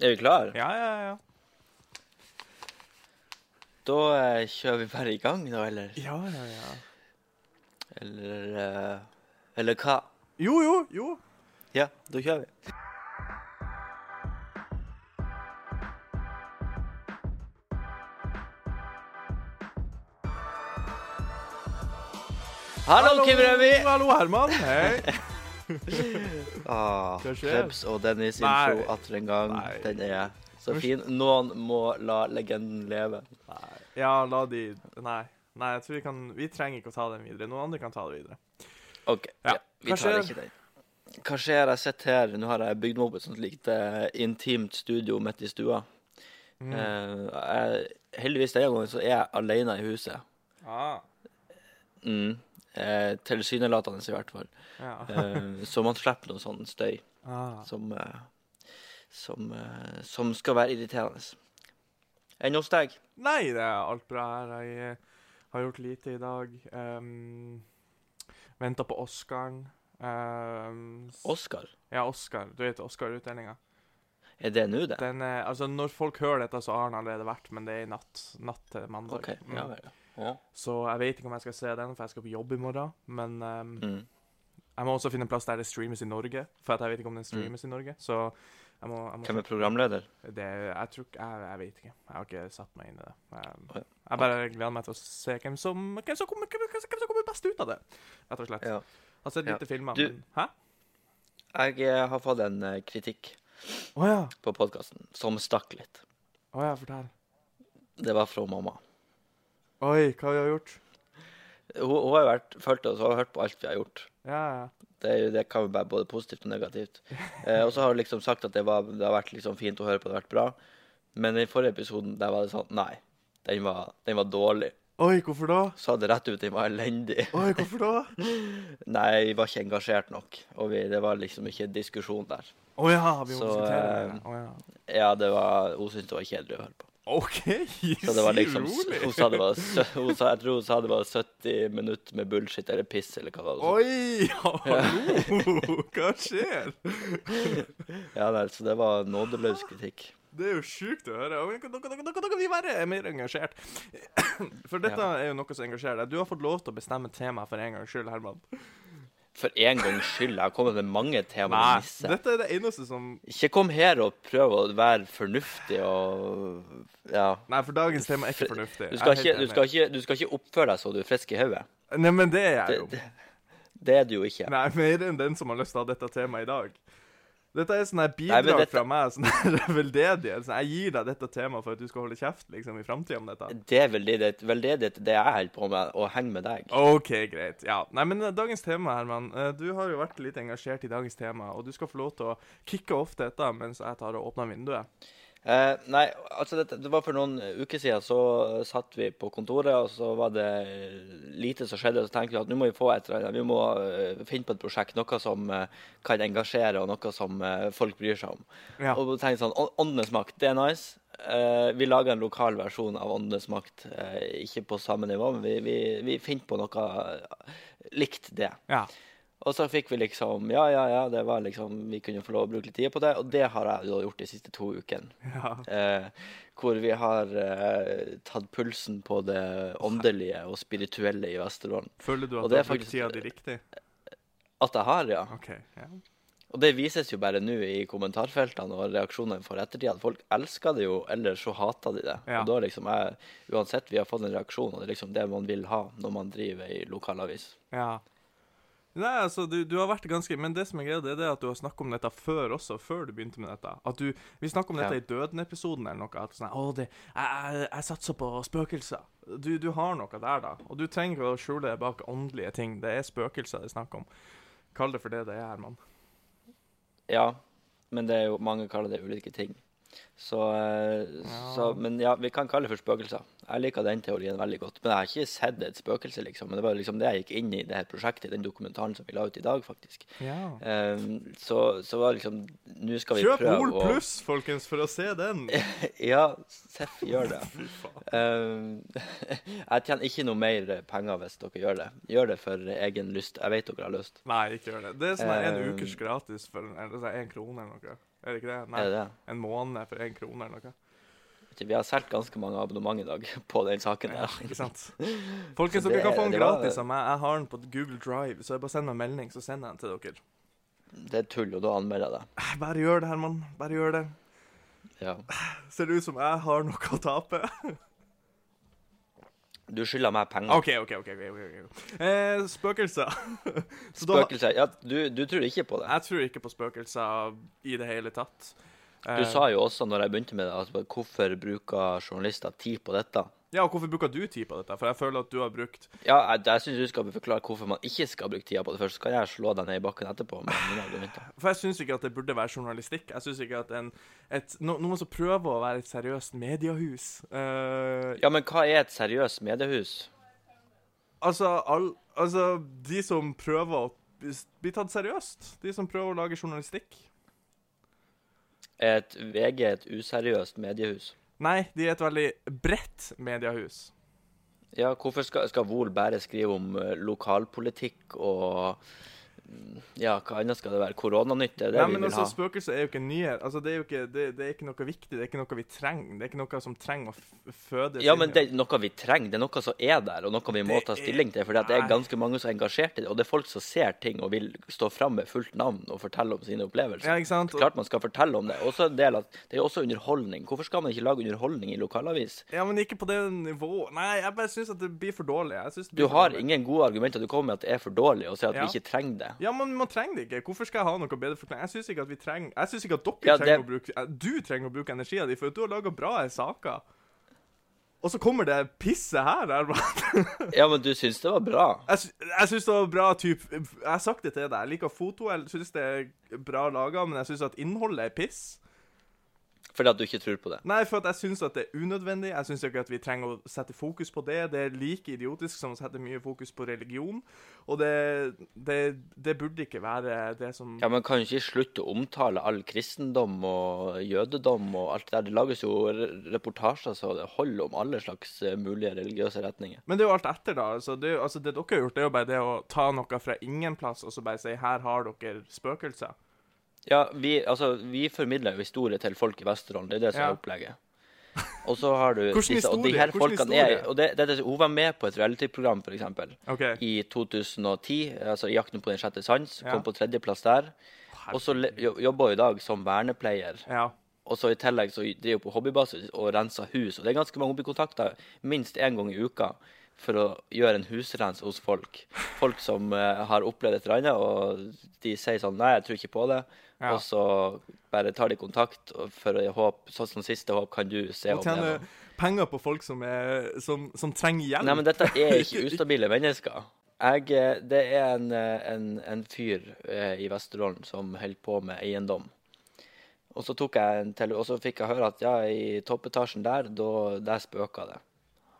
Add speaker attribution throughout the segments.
Speaker 1: Er vi klar?
Speaker 2: Ja, ja, ja.
Speaker 1: Da eh, kjører vi bare i gang, da, eller?
Speaker 2: Ja, ja, ja.
Speaker 1: Eller, eh, eller hva?
Speaker 2: Jo, jo, jo.
Speaker 1: Ja, da kjører vi. Hallo, Kim Remi!
Speaker 2: Hallo, Herman. Hei.
Speaker 1: Ah,
Speaker 2: Hva skjer?
Speaker 1: Klebs og Dennis
Speaker 2: Nei.
Speaker 1: intro atter en gang.
Speaker 2: Nei.
Speaker 1: Den er så fin. Noen må la legenden leve.
Speaker 2: Nei. Ja, la de Nei. Nei, jeg tror vi kan Vi trenger ikke å ta den videre. Noen andre kan ta det videre.
Speaker 1: OK,
Speaker 2: Ja.
Speaker 1: ja. vi
Speaker 2: Hva
Speaker 1: tar
Speaker 2: skjer?
Speaker 1: ikke den. Hva skjer? Jeg sitter her. Nå har jeg bygd meg opp et sånt lite intimt studio midt i stua. Eh, jeg, heldigvis denne gangen så er jeg alene i huset.
Speaker 2: Ah.
Speaker 1: Mm. Eh, Tilsynelatende, i hvert fall.
Speaker 2: Ja.
Speaker 1: Eh, så man slipper noe sånn støy
Speaker 2: Ah.
Speaker 1: som, eh, som, eh, som skal være irriterende. Enn hos deg?
Speaker 2: Nei, det er alt bra her. Jeg eh, har gjort lite i dag. Um, Venta på Oscaren. Um, s-
Speaker 1: Oskar?
Speaker 2: ja, Oscar. Du vet Oscar-utdelinga.
Speaker 1: Er det nå, det?
Speaker 2: Den er, altså, når folk hører dette, så har den allerede vært, men det er i natt. Natt til mandag.
Speaker 1: OK.
Speaker 2: Mm.
Speaker 1: Ja vel. Ja.
Speaker 2: Så jeg vet ikke om jeg skal se den, for jeg skal på jobb i morgen. Men ehm,
Speaker 1: Mm.
Speaker 2: jeg må også finne en plass der det streames i Norge, for at jeg vet ikke
Speaker 1: Mm.
Speaker 2: om den streames i Norge. Så jeg må, jeg må
Speaker 1: Hvem er programleder?
Speaker 2: det, jeg, tror, ikke- jeg, jeg vet ikke. Jeg har ikke satt meg inn i det. Ehm,
Speaker 1: Å ja.
Speaker 2: jeg bare gleder meg til å se hvem som, hvem som, kommer, hvem, hvem som kommer best ut av det, rett og slett.
Speaker 1: Ja.
Speaker 2: Jeg har sett
Speaker 1: Ja.
Speaker 2: lite filmer,
Speaker 1: Du-
Speaker 2: men Hæ?
Speaker 1: Jeg eh, har fått en eh, kritikk
Speaker 2: Å ja.
Speaker 1: på podkasten som stakk litt.
Speaker 2: Å ja, fortell.
Speaker 1: Det var fra mamma.
Speaker 2: Oi, hva vi har gjort?
Speaker 1: Hun, hun har jo vært, fulgt oss og har hørt på alt vi har gjort.
Speaker 2: Ja, ja.
Speaker 1: Det, er jo- det kan jo være både positivt og negativt. Eh, og så har hun liksom sagt at det, var, det har vært liksom fint å høre på, det har vært bra. Men i forrige episoden der var det sånn Nei, den var, den var dårlig.
Speaker 2: Oi, hvorfor da?
Speaker 1: Sa det rett ut, den var elendig.
Speaker 2: Oi, hvorfor da? Å
Speaker 1: Nei, vi var ikke engasjert nok. Og vi, det var liksom ikke diskusjon der.
Speaker 2: ja, vi må
Speaker 1: Så,
Speaker 2: diskutere
Speaker 1: ehm,
Speaker 2: det. Å ja.
Speaker 1: Ja, det var, hun syntes det var kjedelig å høre på.
Speaker 2: OK,
Speaker 1: Så det var
Speaker 2: si
Speaker 1: liksom
Speaker 2: rolig.
Speaker 1: Hun sa det var, sø- hun sa, jeg tror hun sa det var 70 minutter med bullshit eller piss eller hva det var.
Speaker 2: Oi, hallo! Hva skjer?
Speaker 1: Ja, nei, så det var nådeløs kritikk.
Speaker 2: Det er jo sjukt å høre. Og Da kan- da kan- da kan- da kan vi være mer engasjert. For dette
Speaker 1: Ja.
Speaker 2: er jo noe som engasjerer deg. Du har fått lov til å bestemme temaet for en gangs skyld, Herman.
Speaker 1: For en gangs skyld. Jeg har kommet med mange temaer.
Speaker 2: Nei,
Speaker 1: å misse.
Speaker 2: dette er det eneste som
Speaker 1: Ikke kom her og prøv å være fornuftig og Ja.
Speaker 2: Nei, for dagens tema er ikke fornuftig.
Speaker 1: Du skal ikke, du skal ikke, du skal ikke oppføre deg så du er frisk i hodet.
Speaker 2: ikke Nei, men det er jeg
Speaker 1: Det,
Speaker 2: jo.
Speaker 1: det, det er du jo ikke.
Speaker 2: Nei, mer enn den som har lyst til å ha dette temaet i dag. Dette er sånn her
Speaker 1: men
Speaker 2: bidrag
Speaker 1: dette-
Speaker 2: fra meg. Sånn her veldedighet. Sånn, jeg gir deg dette temaet for at du skal holde kjeft liksom, i framtida om dette.
Speaker 1: Det er veldedighet, veldedighet det jeg holder på med, å henge med deg.
Speaker 2: OK, greit. Ja. Nei, men eh, dagens tema, Herman. eh, Du har jo vært litt engasjert i dagens tema, og du skal få lov til å kicke off dette mens jeg tar og åpner vinduet.
Speaker 1: Eh, nei, altså det, det var for noen uker siden så satt vi på kontoret, og så var det lite som skjedde. Og så tenkte vi at nå må vi få et eller annet. Vi må eh, finne på et prosjekt, noe som eh, kan engasjere, og noe som eh, folk bryr seg om.
Speaker 2: Ja.
Speaker 1: Og da tenkte jeg sånn, «Å- Åndenes makt, det er nice. Eh, vi lager en lokal versjon av Åndenes makt. eh, ikke på samme nivå, men vi, vi, vi finner på noe eh, likt det.
Speaker 2: Ja.
Speaker 1: Og så fikk vi liksom Ja, ja, ja, det var liksom Vi kunne få lov å bruke litt tid på det, og det har jeg jo gjort de siste to ukene.
Speaker 2: ja.
Speaker 1: Eh, hvor vi har eh, tatt pulsen på det åndelige og spirituelle i Vesterålen.
Speaker 2: Føler du
Speaker 1: Og
Speaker 2: at du
Speaker 1: det er
Speaker 2: har brukt
Speaker 1: faktisk-
Speaker 2: tida di riktig?
Speaker 1: At jeg har, ja.
Speaker 2: OK. Ja.
Speaker 1: Og det vises jo bare nå i kommentarfeltene og reaksjonene for ettertid, at folk elsker det jo, eller så hater de det.
Speaker 2: Ja.
Speaker 1: Og da liksom jeg, Uansett, vi har fått en reaksjon, og det er liksom det man vil ha når man driver i lokalavis.
Speaker 2: ja. Nei, altså, du, du har vært ganske Men det som er greia, det er det at du har snakket om dette før også, før du begynte med dette. At du Vi snakket om dette
Speaker 1: Ja.
Speaker 2: i Døden-episoden eller noe. At sånn Å, det Jeg, jeg, jeg satser på spøkelser. Du, du har noe der, da. Og du trenger ikke å skjule det bak åndelige ting. Det er spøkelser det er snakk om. Kall det for det det er, Herman.
Speaker 1: Ja, men det er jo mange kaller det ulike ting. Så, eh, så Men ja, vi kan kalle det for spøkelser. Jeg liker den teorien veldig godt. Men jeg har ikke sett et spøkelse, liksom. Men det var liksom det jeg gikk inn i det her prosjektet, den dokumentaren som vi la ut i dag, faktisk.
Speaker 2: Ja.
Speaker 1: Eh, så, så var det liksom Nå skal vi
Speaker 2: Kjøp
Speaker 1: prøve
Speaker 2: Hol
Speaker 1: å
Speaker 2: Pluss, folkens, for å se den.
Speaker 1: Ja, Seff gjør det.
Speaker 2: Fy faen.
Speaker 1: Um, jeg tjener ikke noe mer penger hvis dere gjør det. Gjør det for egen lyst. Jeg vet dere har lyst.
Speaker 2: Nei, ikke gjør det. Det er sånn her en
Speaker 1: Eh,
Speaker 2: ukers gratis for en, eller sånn en krone eller noe. er det ikke det? Nei,
Speaker 1: Er det det?
Speaker 2: En måned for én krone eller noe.
Speaker 1: Vet du, Vi har solgt ganske mange abonnement i dag på den saken
Speaker 2: Ja,
Speaker 1: der.
Speaker 2: ikke sant? Folkens,
Speaker 1: Så
Speaker 2: dere
Speaker 1: det-
Speaker 2: kan få den
Speaker 1: det var-
Speaker 2: gratis av meg. Jeg har den på Google Drive, så jeg bare sender en melding, så sender jeg den til dere.
Speaker 1: Det er tull, og da anmelder jeg det.
Speaker 2: Eh, Bare gjør det, Herman. Bare gjør det.
Speaker 1: Ja.
Speaker 2: Ser det ut som jeg har noe å tape?
Speaker 1: Du skylder meg penger.
Speaker 2: OK, OK. ok, ok, ok, ok. Eh, Spøkelser. Så da,
Speaker 1: Spøkelser. Ja, du, du tror ikke på det.
Speaker 2: jeg tror ikke på spøkelser i det hele tatt. Eh,
Speaker 1: Du sa jo også når jeg begynte med det, at bare, hvorfor bruker journalister tid på dette?
Speaker 2: Eh, Ja, og hvorfor bruker du tid på dette? For jeg føler at du har brukt
Speaker 1: Ja, jeg, jeg syns du skal forklare hvorfor man ikke skal bruke tida på det først. Så kan jeg slå deg ned i bakken etterpå med mine argumenter.
Speaker 2: For jeg syns ikke at det burde være journalistikk. Jeg synes ikke at en, et, no, Noen som prøver å være et seriøst mediehus eh,
Speaker 1: Ja, men hva er et seriøst mediehus?
Speaker 2: altså, all, altså, de som prøver å bli tatt seriøst. De som prøver å lage journalistikk.
Speaker 1: Er et VG et useriøst mediehus?
Speaker 2: Nei, de er et veldig bredt mediehus.
Speaker 1: Ja, hvorfor skal, skal Vol bare skrive om eh, lokalpolitikk og mm, Ja, hva annet skal det være? Koronanytt? Det er det
Speaker 2: Nei,
Speaker 1: vi
Speaker 2: men
Speaker 1: vil
Speaker 2: altså,
Speaker 1: ha.
Speaker 2: Spøkelser er jo ikke nyhet. Altså, det, er jo ikke, det, det er ikke noe viktig. Det er ikke noe vi trenger. Det er ikke noe som trenger å f fødes
Speaker 1: Ja,
Speaker 2: inn i
Speaker 1: men
Speaker 2: oss.
Speaker 1: det er noe vi trenger. Det er noe som er der, og noe vi må
Speaker 2: Det
Speaker 1: ta
Speaker 2: er-
Speaker 1: stilling til. For det er
Speaker 2: Nei.
Speaker 1: ganske mange som er engasjert i det, og det er folk som ser ting og vil stå fram med fullt navn og fortelle om sine opplevelser.
Speaker 2: Ja, ikke sant? Og-
Speaker 1: Klart man skal fortelle om det. Også en del av, det er jo også underholdning. Hvorfor skal man ikke lage underholdning i lokalavis?
Speaker 2: Ja, men ikke på det nivået. Nei, jeg bare syns at det blir for dårlig. Jeg synes det
Speaker 1: Du
Speaker 2: blir for
Speaker 1: har
Speaker 2: dårlig.
Speaker 1: ingen gode argumenter. Du kommer med at det er for dårlig, og sier at
Speaker 2: Ja.
Speaker 1: vi ikke trenger det.
Speaker 2: Ja, men man trenger det ikke. Hvorfor skal jeg ha noe bedre forklaring? Jeg syns ikke at vi trenger Jeg synes ikke at dere
Speaker 1: Ja, det-
Speaker 2: trenger å bruke eh, Du trenger å bruke energien din, for at du har laga bra saker. Og så kommer det pisset her. Herman.
Speaker 1: Ja, men du syns det var bra.
Speaker 2: Jeg, sy- jeg syns det var bra typ Jeg har sagt det til deg. Jeg liker foto, jeg syns det er bra laga, men jeg syns at innholdet er piss.
Speaker 1: Fordi at du ikke tror på det.
Speaker 2: Nei, for at jeg syns at det er unødvendig. Jeg syns ikke at vi trenger å sette fokus på det. Det er like idiotisk som å sette mye fokus på religion. Og det, det, det burde ikke være det som
Speaker 1: Ja, Man kan jo ikke slutte å omtale all kristendom og jødedom og alt det der. Det lages jo re- reportasjer så det holder om alle slags eh, mulige religiøse retninger.
Speaker 2: Men det er jo alt etter, da. Altså det, er jo- altså, det dere har gjort, det er jo bare det å ta noe fra ingen plass og så bare si 'her har dere spøkelser'.
Speaker 1: Ja, vi, altså, vi formidler jo historie til folk i Vesterålen. Det er det som
Speaker 2: Ja.
Speaker 1: er opplegget. Og så har du
Speaker 2: Hvordan
Speaker 1: og de
Speaker 2: historie?
Speaker 1: her
Speaker 2: Hvordan
Speaker 1: folkene er,
Speaker 2: historie?
Speaker 1: og det, det, er det, Hun var med på et realityprogram, f.eks.,
Speaker 2: OK.
Speaker 1: i 2010. Altså i 'Jakten på den sjette sans'.
Speaker 2: Ja.
Speaker 1: Kom på tredjeplass der. Og så le- jo- jobber hun i dag som vernepleier.
Speaker 2: Ja.
Speaker 1: Og så i tillegg så driver hun på hobbybasis og renser hus. Og det er ganske mange hobbykontakter minst én gang i uka for å gjøre en husrens hos folk. Folk som eh, har opplevd et eller annet, og de sier sånn Nei, jeg tror ikke på det.
Speaker 2: Ja.
Speaker 1: Og så bare tar de kontakt og for å håpe Sånn som siste håp, kan du se om
Speaker 2: Å
Speaker 1: det er
Speaker 2: tjene
Speaker 1: noe.
Speaker 2: penger på folk som, er, som, som trenger hjelp.
Speaker 1: Nei, men dette er ikke ustabile mennesker. Jeg, eh, det er en, eh, en, en fyr eh, i Vesterålen som holder på med eiendom. Og så tok jeg en tele, og så fikk jeg høre at ja, i toppetasjen der, da, der spøka det.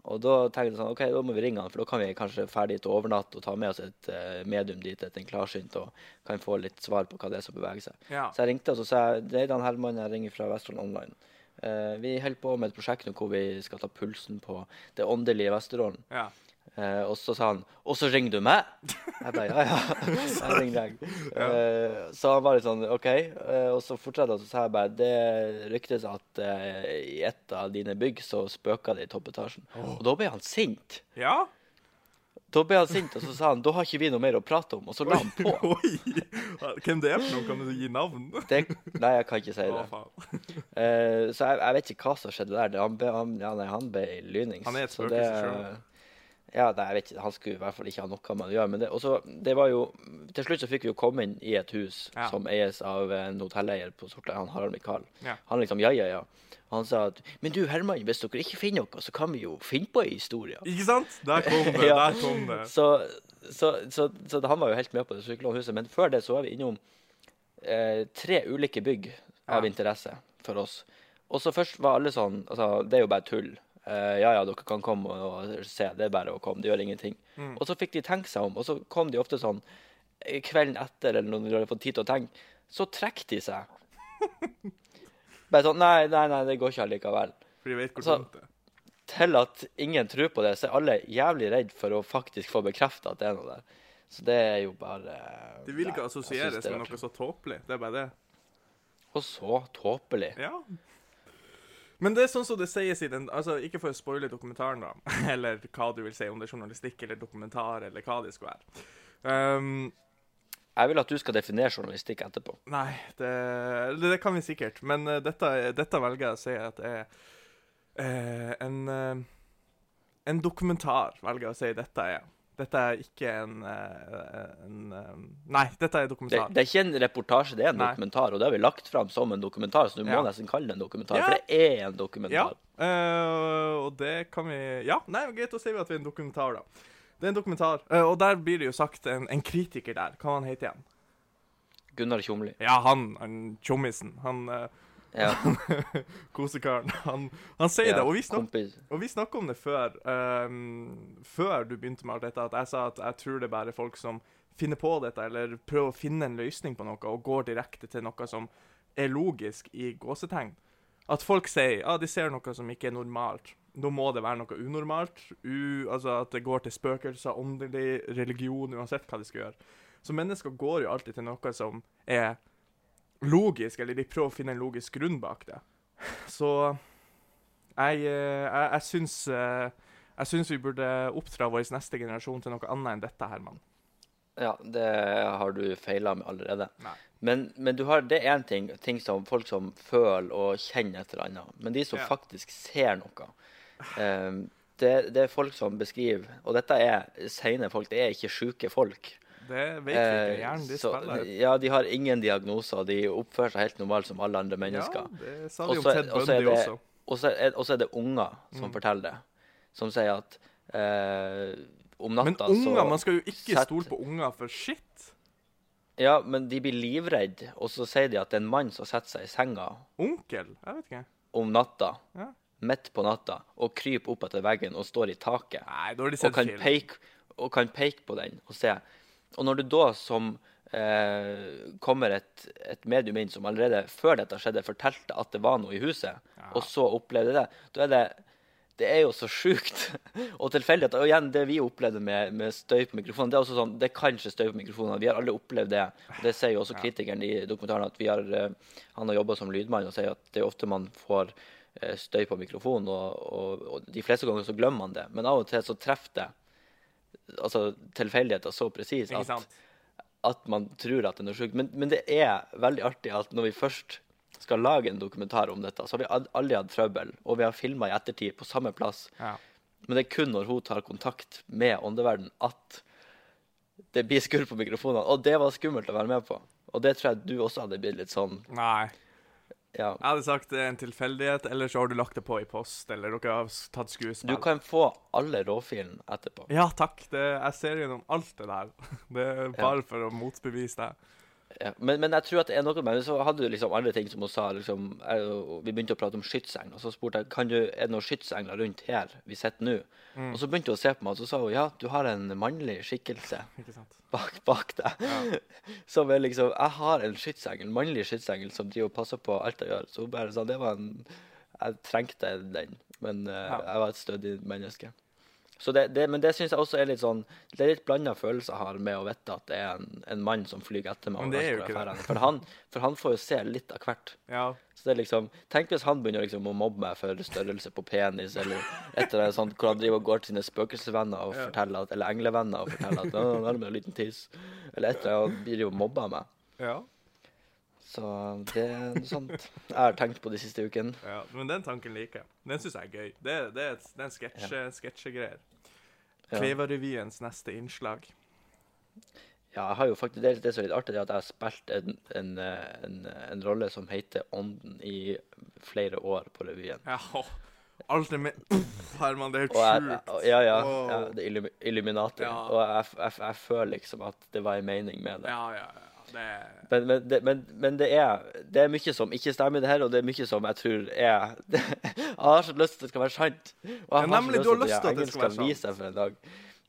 Speaker 1: Og da tenkte jeg sånn, ok, da må vi ringe han, for da kan vi kanskje ferdig til overnatt og ta med oss et eh, medium dit, et en klarsynt, og kan få litt svar på hva det er som beveger seg.
Speaker 2: Ja.
Speaker 1: Så jeg ringte, og så sa jeg, det er Dan Herman, jeg ringer fra Vesterålen Online. Eh, vi holder på med et prosjekt nå hvor vi skal ta pulsen på det åndelige Vesterålen.
Speaker 2: ja.
Speaker 1: Eh, og så sa han 'Og så ringer du meg?' Jeg bare 'Ja, ja, jeg ringer deg'. Eh, så han var litt sånn 'OK'. Eh, og så fortsatte han, så sa jeg bare 'Det ryktes at eh, i et av dine bygg så spøker det i toppetasjen'. Og da ble han sint.
Speaker 2: ja?
Speaker 1: Da ble han sint, og så sa han 'Da har ikke vi noe mer å prate om', og så la han på.
Speaker 2: Oi! Hvem det er for noe? Kan du gi navn?
Speaker 1: Det, nei, jeg kan ikke si
Speaker 2: Å,
Speaker 1: det.
Speaker 2: faen.
Speaker 1: Eh, så jeg, jeg vet ikke hva som skjedde der. Det- Han ble, han, ja, nei, han ble lynings.
Speaker 2: Han er et
Speaker 1: så
Speaker 2: spøkelse
Speaker 1: det-
Speaker 2: selv.
Speaker 1: Ja, nei, jeg vet ikke. Han skulle i hvert fall ikke ha noe med det å gjøre. Men det, og så, det var jo, til slutt så fikk vi jo komme inn i et hus
Speaker 2: Ja.
Speaker 1: som eies av en hotelleier på Sortland, han Harald Mikael.
Speaker 2: Ja.
Speaker 1: Han liksom ja, ja, ja. Han sa at Men du Herman, hvis dere ikke finner noe, så kan vi jo finne på ei historie.
Speaker 2: Ikke sant? Der kom det.
Speaker 1: Ja.
Speaker 2: Der kom det.
Speaker 1: Så, så, så, så han var jo helt med på det sykkelhuset. Men før det så var vi innom eh, tre ulike bygg av
Speaker 2: Ja.
Speaker 1: interesse for oss. Og så først var alle sånn altså, Det er jo bare tull. Eh, ja ja, dere kan komme og, og se. Det er bare å komme. Det gjør ingenting. Og så fikk de tenke seg om, og så kom de ofte sånn eh, kvelden etter eller når de hadde fått tid til å tenke. Så trekker de seg. Bare sånn Nei, nei, nei, det går ikke allikevel
Speaker 2: For de vet hvor
Speaker 1: Så-
Speaker 2: dumt det er.
Speaker 1: til at ingen tror på det, så er alle jævlig redd for å faktisk få bekrefta at det er noe der. Så det er jo bare
Speaker 2: De vil ikke
Speaker 1: Nei, jeg synes
Speaker 2: assosieres
Speaker 1: det er
Speaker 2: med
Speaker 1: rart.
Speaker 2: noe så tåpelig. Det er bare det.
Speaker 1: Og så tåpelig.
Speaker 2: Ja. Men det er sånn som det sies i den altså Ikke for å spoile dokumentaren, da, eller hva du vil si, om det er journalistikk eller dokumentar, eller hva det skulle være. Um,
Speaker 1: Jeg vil at du skal definere journalistikk etterpå.
Speaker 2: Nei, det, eller det kan vi sikkert. Men eh, dette, dette velger jeg å si at er eh, en eh, En dokumentar, velger jeg å si dette er. Dette er ikke en, eh, en eh, Nei, dette er
Speaker 1: Det,
Speaker 2: dokumentar.
Speaker 1: det er ikke en reportasje, det er en
Speaker 2: Nei.
Speaker 1: dokumentar. Og det har vi lagt fram som en dokumentar, så du må
Speaker 2: Ja.
Speaker 1: nesten kalle det en dokumentar.
Speaker 2: Ja.
Speaker 1: For det er en
Speaker 2: ja,
Speaker 1: dokumentar.
Speaker 2: eh, og det kan vi Ja, nei, greit, da sier vi at vi er en dokumentar, da. Det er en dokumentar, eh, og der blir det jo sagt en, en kritiker der. Hva han heter igjen?
Speaker 1: Gunnar Tjomli.
Speaker 2: Ja, han, han tjommisen. Han eh,
Speaker 1: Ja,
Speaker 2: kosekaren. Han, han sier
Speaker 1: ja,
Speaker 2: det, og vi snakker
Speaker 1: kompis.
Speaker 2: Og vi snakka om det før, ehm, før du begynte med alt dette, at jeg sa at jeg tror det er bare folk som finner på dette, eller prøver å finne en løsning på noe, og går direkte til noe som er logisk i gåsetegn. At folk sier ja, de ser noe som ikke er normalt. Da må det være noe unormalt. U, altså At det går til spøkelser, åndelig, religion, uansett hva de skal gjøre. Så mennesker går jo alltid til noe som er logisk, eller de prøver å finne en logisk grunn bak det. Så jeg, eh, jeg, jeg syns eh, jeg syns vi burde oppdra vår neste generasjon til noe annet enn dette, Herman.
Speaker 1: Ja, det har du feila med allerede.
Speaker 2: Nei.
Speaker 1: Men, men du har, det er én ting, ting som folk som føler og kjenner et eller annet. Men de som
Speaker 2: Ja.
Speaker 1: faktisk ser noe ehm, det, det er folk som beskriver Og dette er sene folk, det er ikke sjuke folk.
Speaker 2: Det vet vi ikke.
Speaker 1: Eh,
Speaker 2: Hjernen de
Speaker 1: så-
Speaker 2: spiller.
Speaker 1: ja, de har ingen diagnoser. De oppfører seg helt normalt som alle andre
Speaker 2: Ja,
Speaker 1: mennesker.
Speaker 2: det sa de om
Speaker 1: Også-
Speaker 2: Ted
Speaker 1: også er
Speaker 2: Bundy
Speaker 1: det-
Speaker 2: også. Mm.
Speaker 1: Og så er, og så er det unger som forteller det. Som sier at eh, om natta
Speaker 2: Men unger,
Speaker 1: så
Speaker 2: man skal jo ikke
Speaker 1: sett-
Speaker 2: stole på unger for shit.
Speaker 1: Ja, men de blir livredde, og så sier de at det er en mann som setter seg i senga
Speaker 2: Onkel? Jeg vet ikke.
Speaker 1: om natta,
Speaker 2: Ja.
Speaker 1: midt på natta, og kryper opp etter veggen og står i taket,
Speaker 2: Nei, da har de
Speaker 1: og
Speaker 2: sett
Speaker 1: kan
Speaker 2: film.
Speaker 1: peke, og kan peke på den og se. Og når du da som eh, kommer et, et medium inn som allerede før dette skjedde, fortalte at det var noe i huset, og så opplevde det, da er det det er jo så sjukt og tilfeldig. at- Og igjen, det vi opplevde med, med støy på mikrofonen Det er også sånn, det kan ikke støy på mikrofonen. Vi har alle opplevd det. Og det sier jo også kritikeren i dokumentaren at vi har, eh, han har jobba som lydmann og sier at det er ofte man får eh, støy på mikrofonen, og, og, og de fleste ganger så glemmer man det. Men av og til så treffer det altså tilfeldigheter så presis
Speaker 2: Ikke
Speaker 1: at,
Speaker 2: sant?
Speaker 1: at man tror at det er noe sjukt. Men, men det er veldig artig at når vi først skal lage en dokumentar om dette, så har vi al- aldri hatt trøbbel, og vi har filma i ettertid på samme plass.
Speaker 2: Ja.
Speaker 1: Men det er kun når hun tar kontakt med åndeverden at det blir skurr på mikrofonene. Og det var skummelt å være med på. Og det tror jeg du også hadde blitt litt sånn
Speaker 2: Nei.
Speaker 1: Ja.
Speaker 2: Jeg hadde sagt det er en tilfeldighet, eller så har du lagt det på i post, eller dere har s- tatt
Speaker 1: Du
Speaker 2: skuespill.
Speaker 1: kan få alle råfilene etterpå.
Speaker 2: Ja, takk. Det, jeg ser gjennom alt det der. Det er bare for å motbevise det.
Speaker 1: Ja. Men, men jeg tror at det er noe med Så hadde du liksom andre ting som hun sa. liksom, jeg, og Vi begynte å prate om skytsengler. Og så spurte jeg kan du, er det noen skytsengler rundt her vi sitter nå. Og så begynte hun å se på meg, og så sa hun ja, du har en mannlig skikkelse.
Speaker 2: Ikke sant?
Speaker 1: bak, bak deg. Som er liksom Jeg har en skytsengel, mannlig skytsengel, som driver og passer på alt jeg gjør. Så hun bare sa det var en Jeg trengte den, men eh, jeg var et stødig menneske. Så det, det, men det syns jeg også er litt sånn Det er litt blanda følelser jeg har med å vite at det er en, en mann som flyr etter meg. og
Speaker 2: Men det er
Speaker 1: vet hvor jeg
Speaker 2: jo ikke
Speaker 1: drar
Speaker 2: det.
Speaker 1: hen. For han, for han får jo se litt av hvert.
Speaker 2: Ja.
Speaker 1: Så det er liksom Tenk hvis han begynner liksom å mobbe meg for størrelse på penis, eller et eller annet sånt, hvor han driver og går til sine spøkelsesvenner og forteller at Eller englevenner og forteller at «Å, 'Han har med en liten tiss', eller et eller annet. Han blir jo mobba meg.
Speaker 2: Ja.
Speaker 1: Så det er noe sånt jeg har tenkt på de siste ukene.
Speaker 2: Ja, men den tanken liker jeg. Den syns jeg er gøy. Det, det, er, et- det er en sketsje, sketsjegreier.
Speaker 1: Ja.
Speaker 2: Klevarevyens neste innslag.
Speaker 1: Ja, jeg har jo faktisk, det, er- det er så litt artig det er at jeg har spilt en, en, eh, en, en rolle som heter Ånden i flere år på revyen.
Speaker 2: Ja, åh. alt er med Uff, Herman, det er
Speaker 1: Og jeg,
Speaker 2: helt
Speaker 1: og-
Speaker 2: sjukt.
Speaker 1: ja, ja,
Speaker 2: Wow.
Speaker 1: ja, det er illumi- Illuminati.
Speaker 2: Ja.
Speaker 1: Og jeg, f- jeg, f- jeg føler liksom at det var en mening med det.
Speaker 2: Ja, ja, ja. Det er
Speaker 1: Men, men, det, men, men det, er, det er mye som ikke stemmer i det her, og det er mye som jeg tror er Jeg har så lyst til at det skal være sant. Og jeg
Speaker 2: Ja, nemlig, du har lyst til at det
Speaker 1: engelen
Speaker 2: skal være sant.
Speaker 1: vise seg for en dag.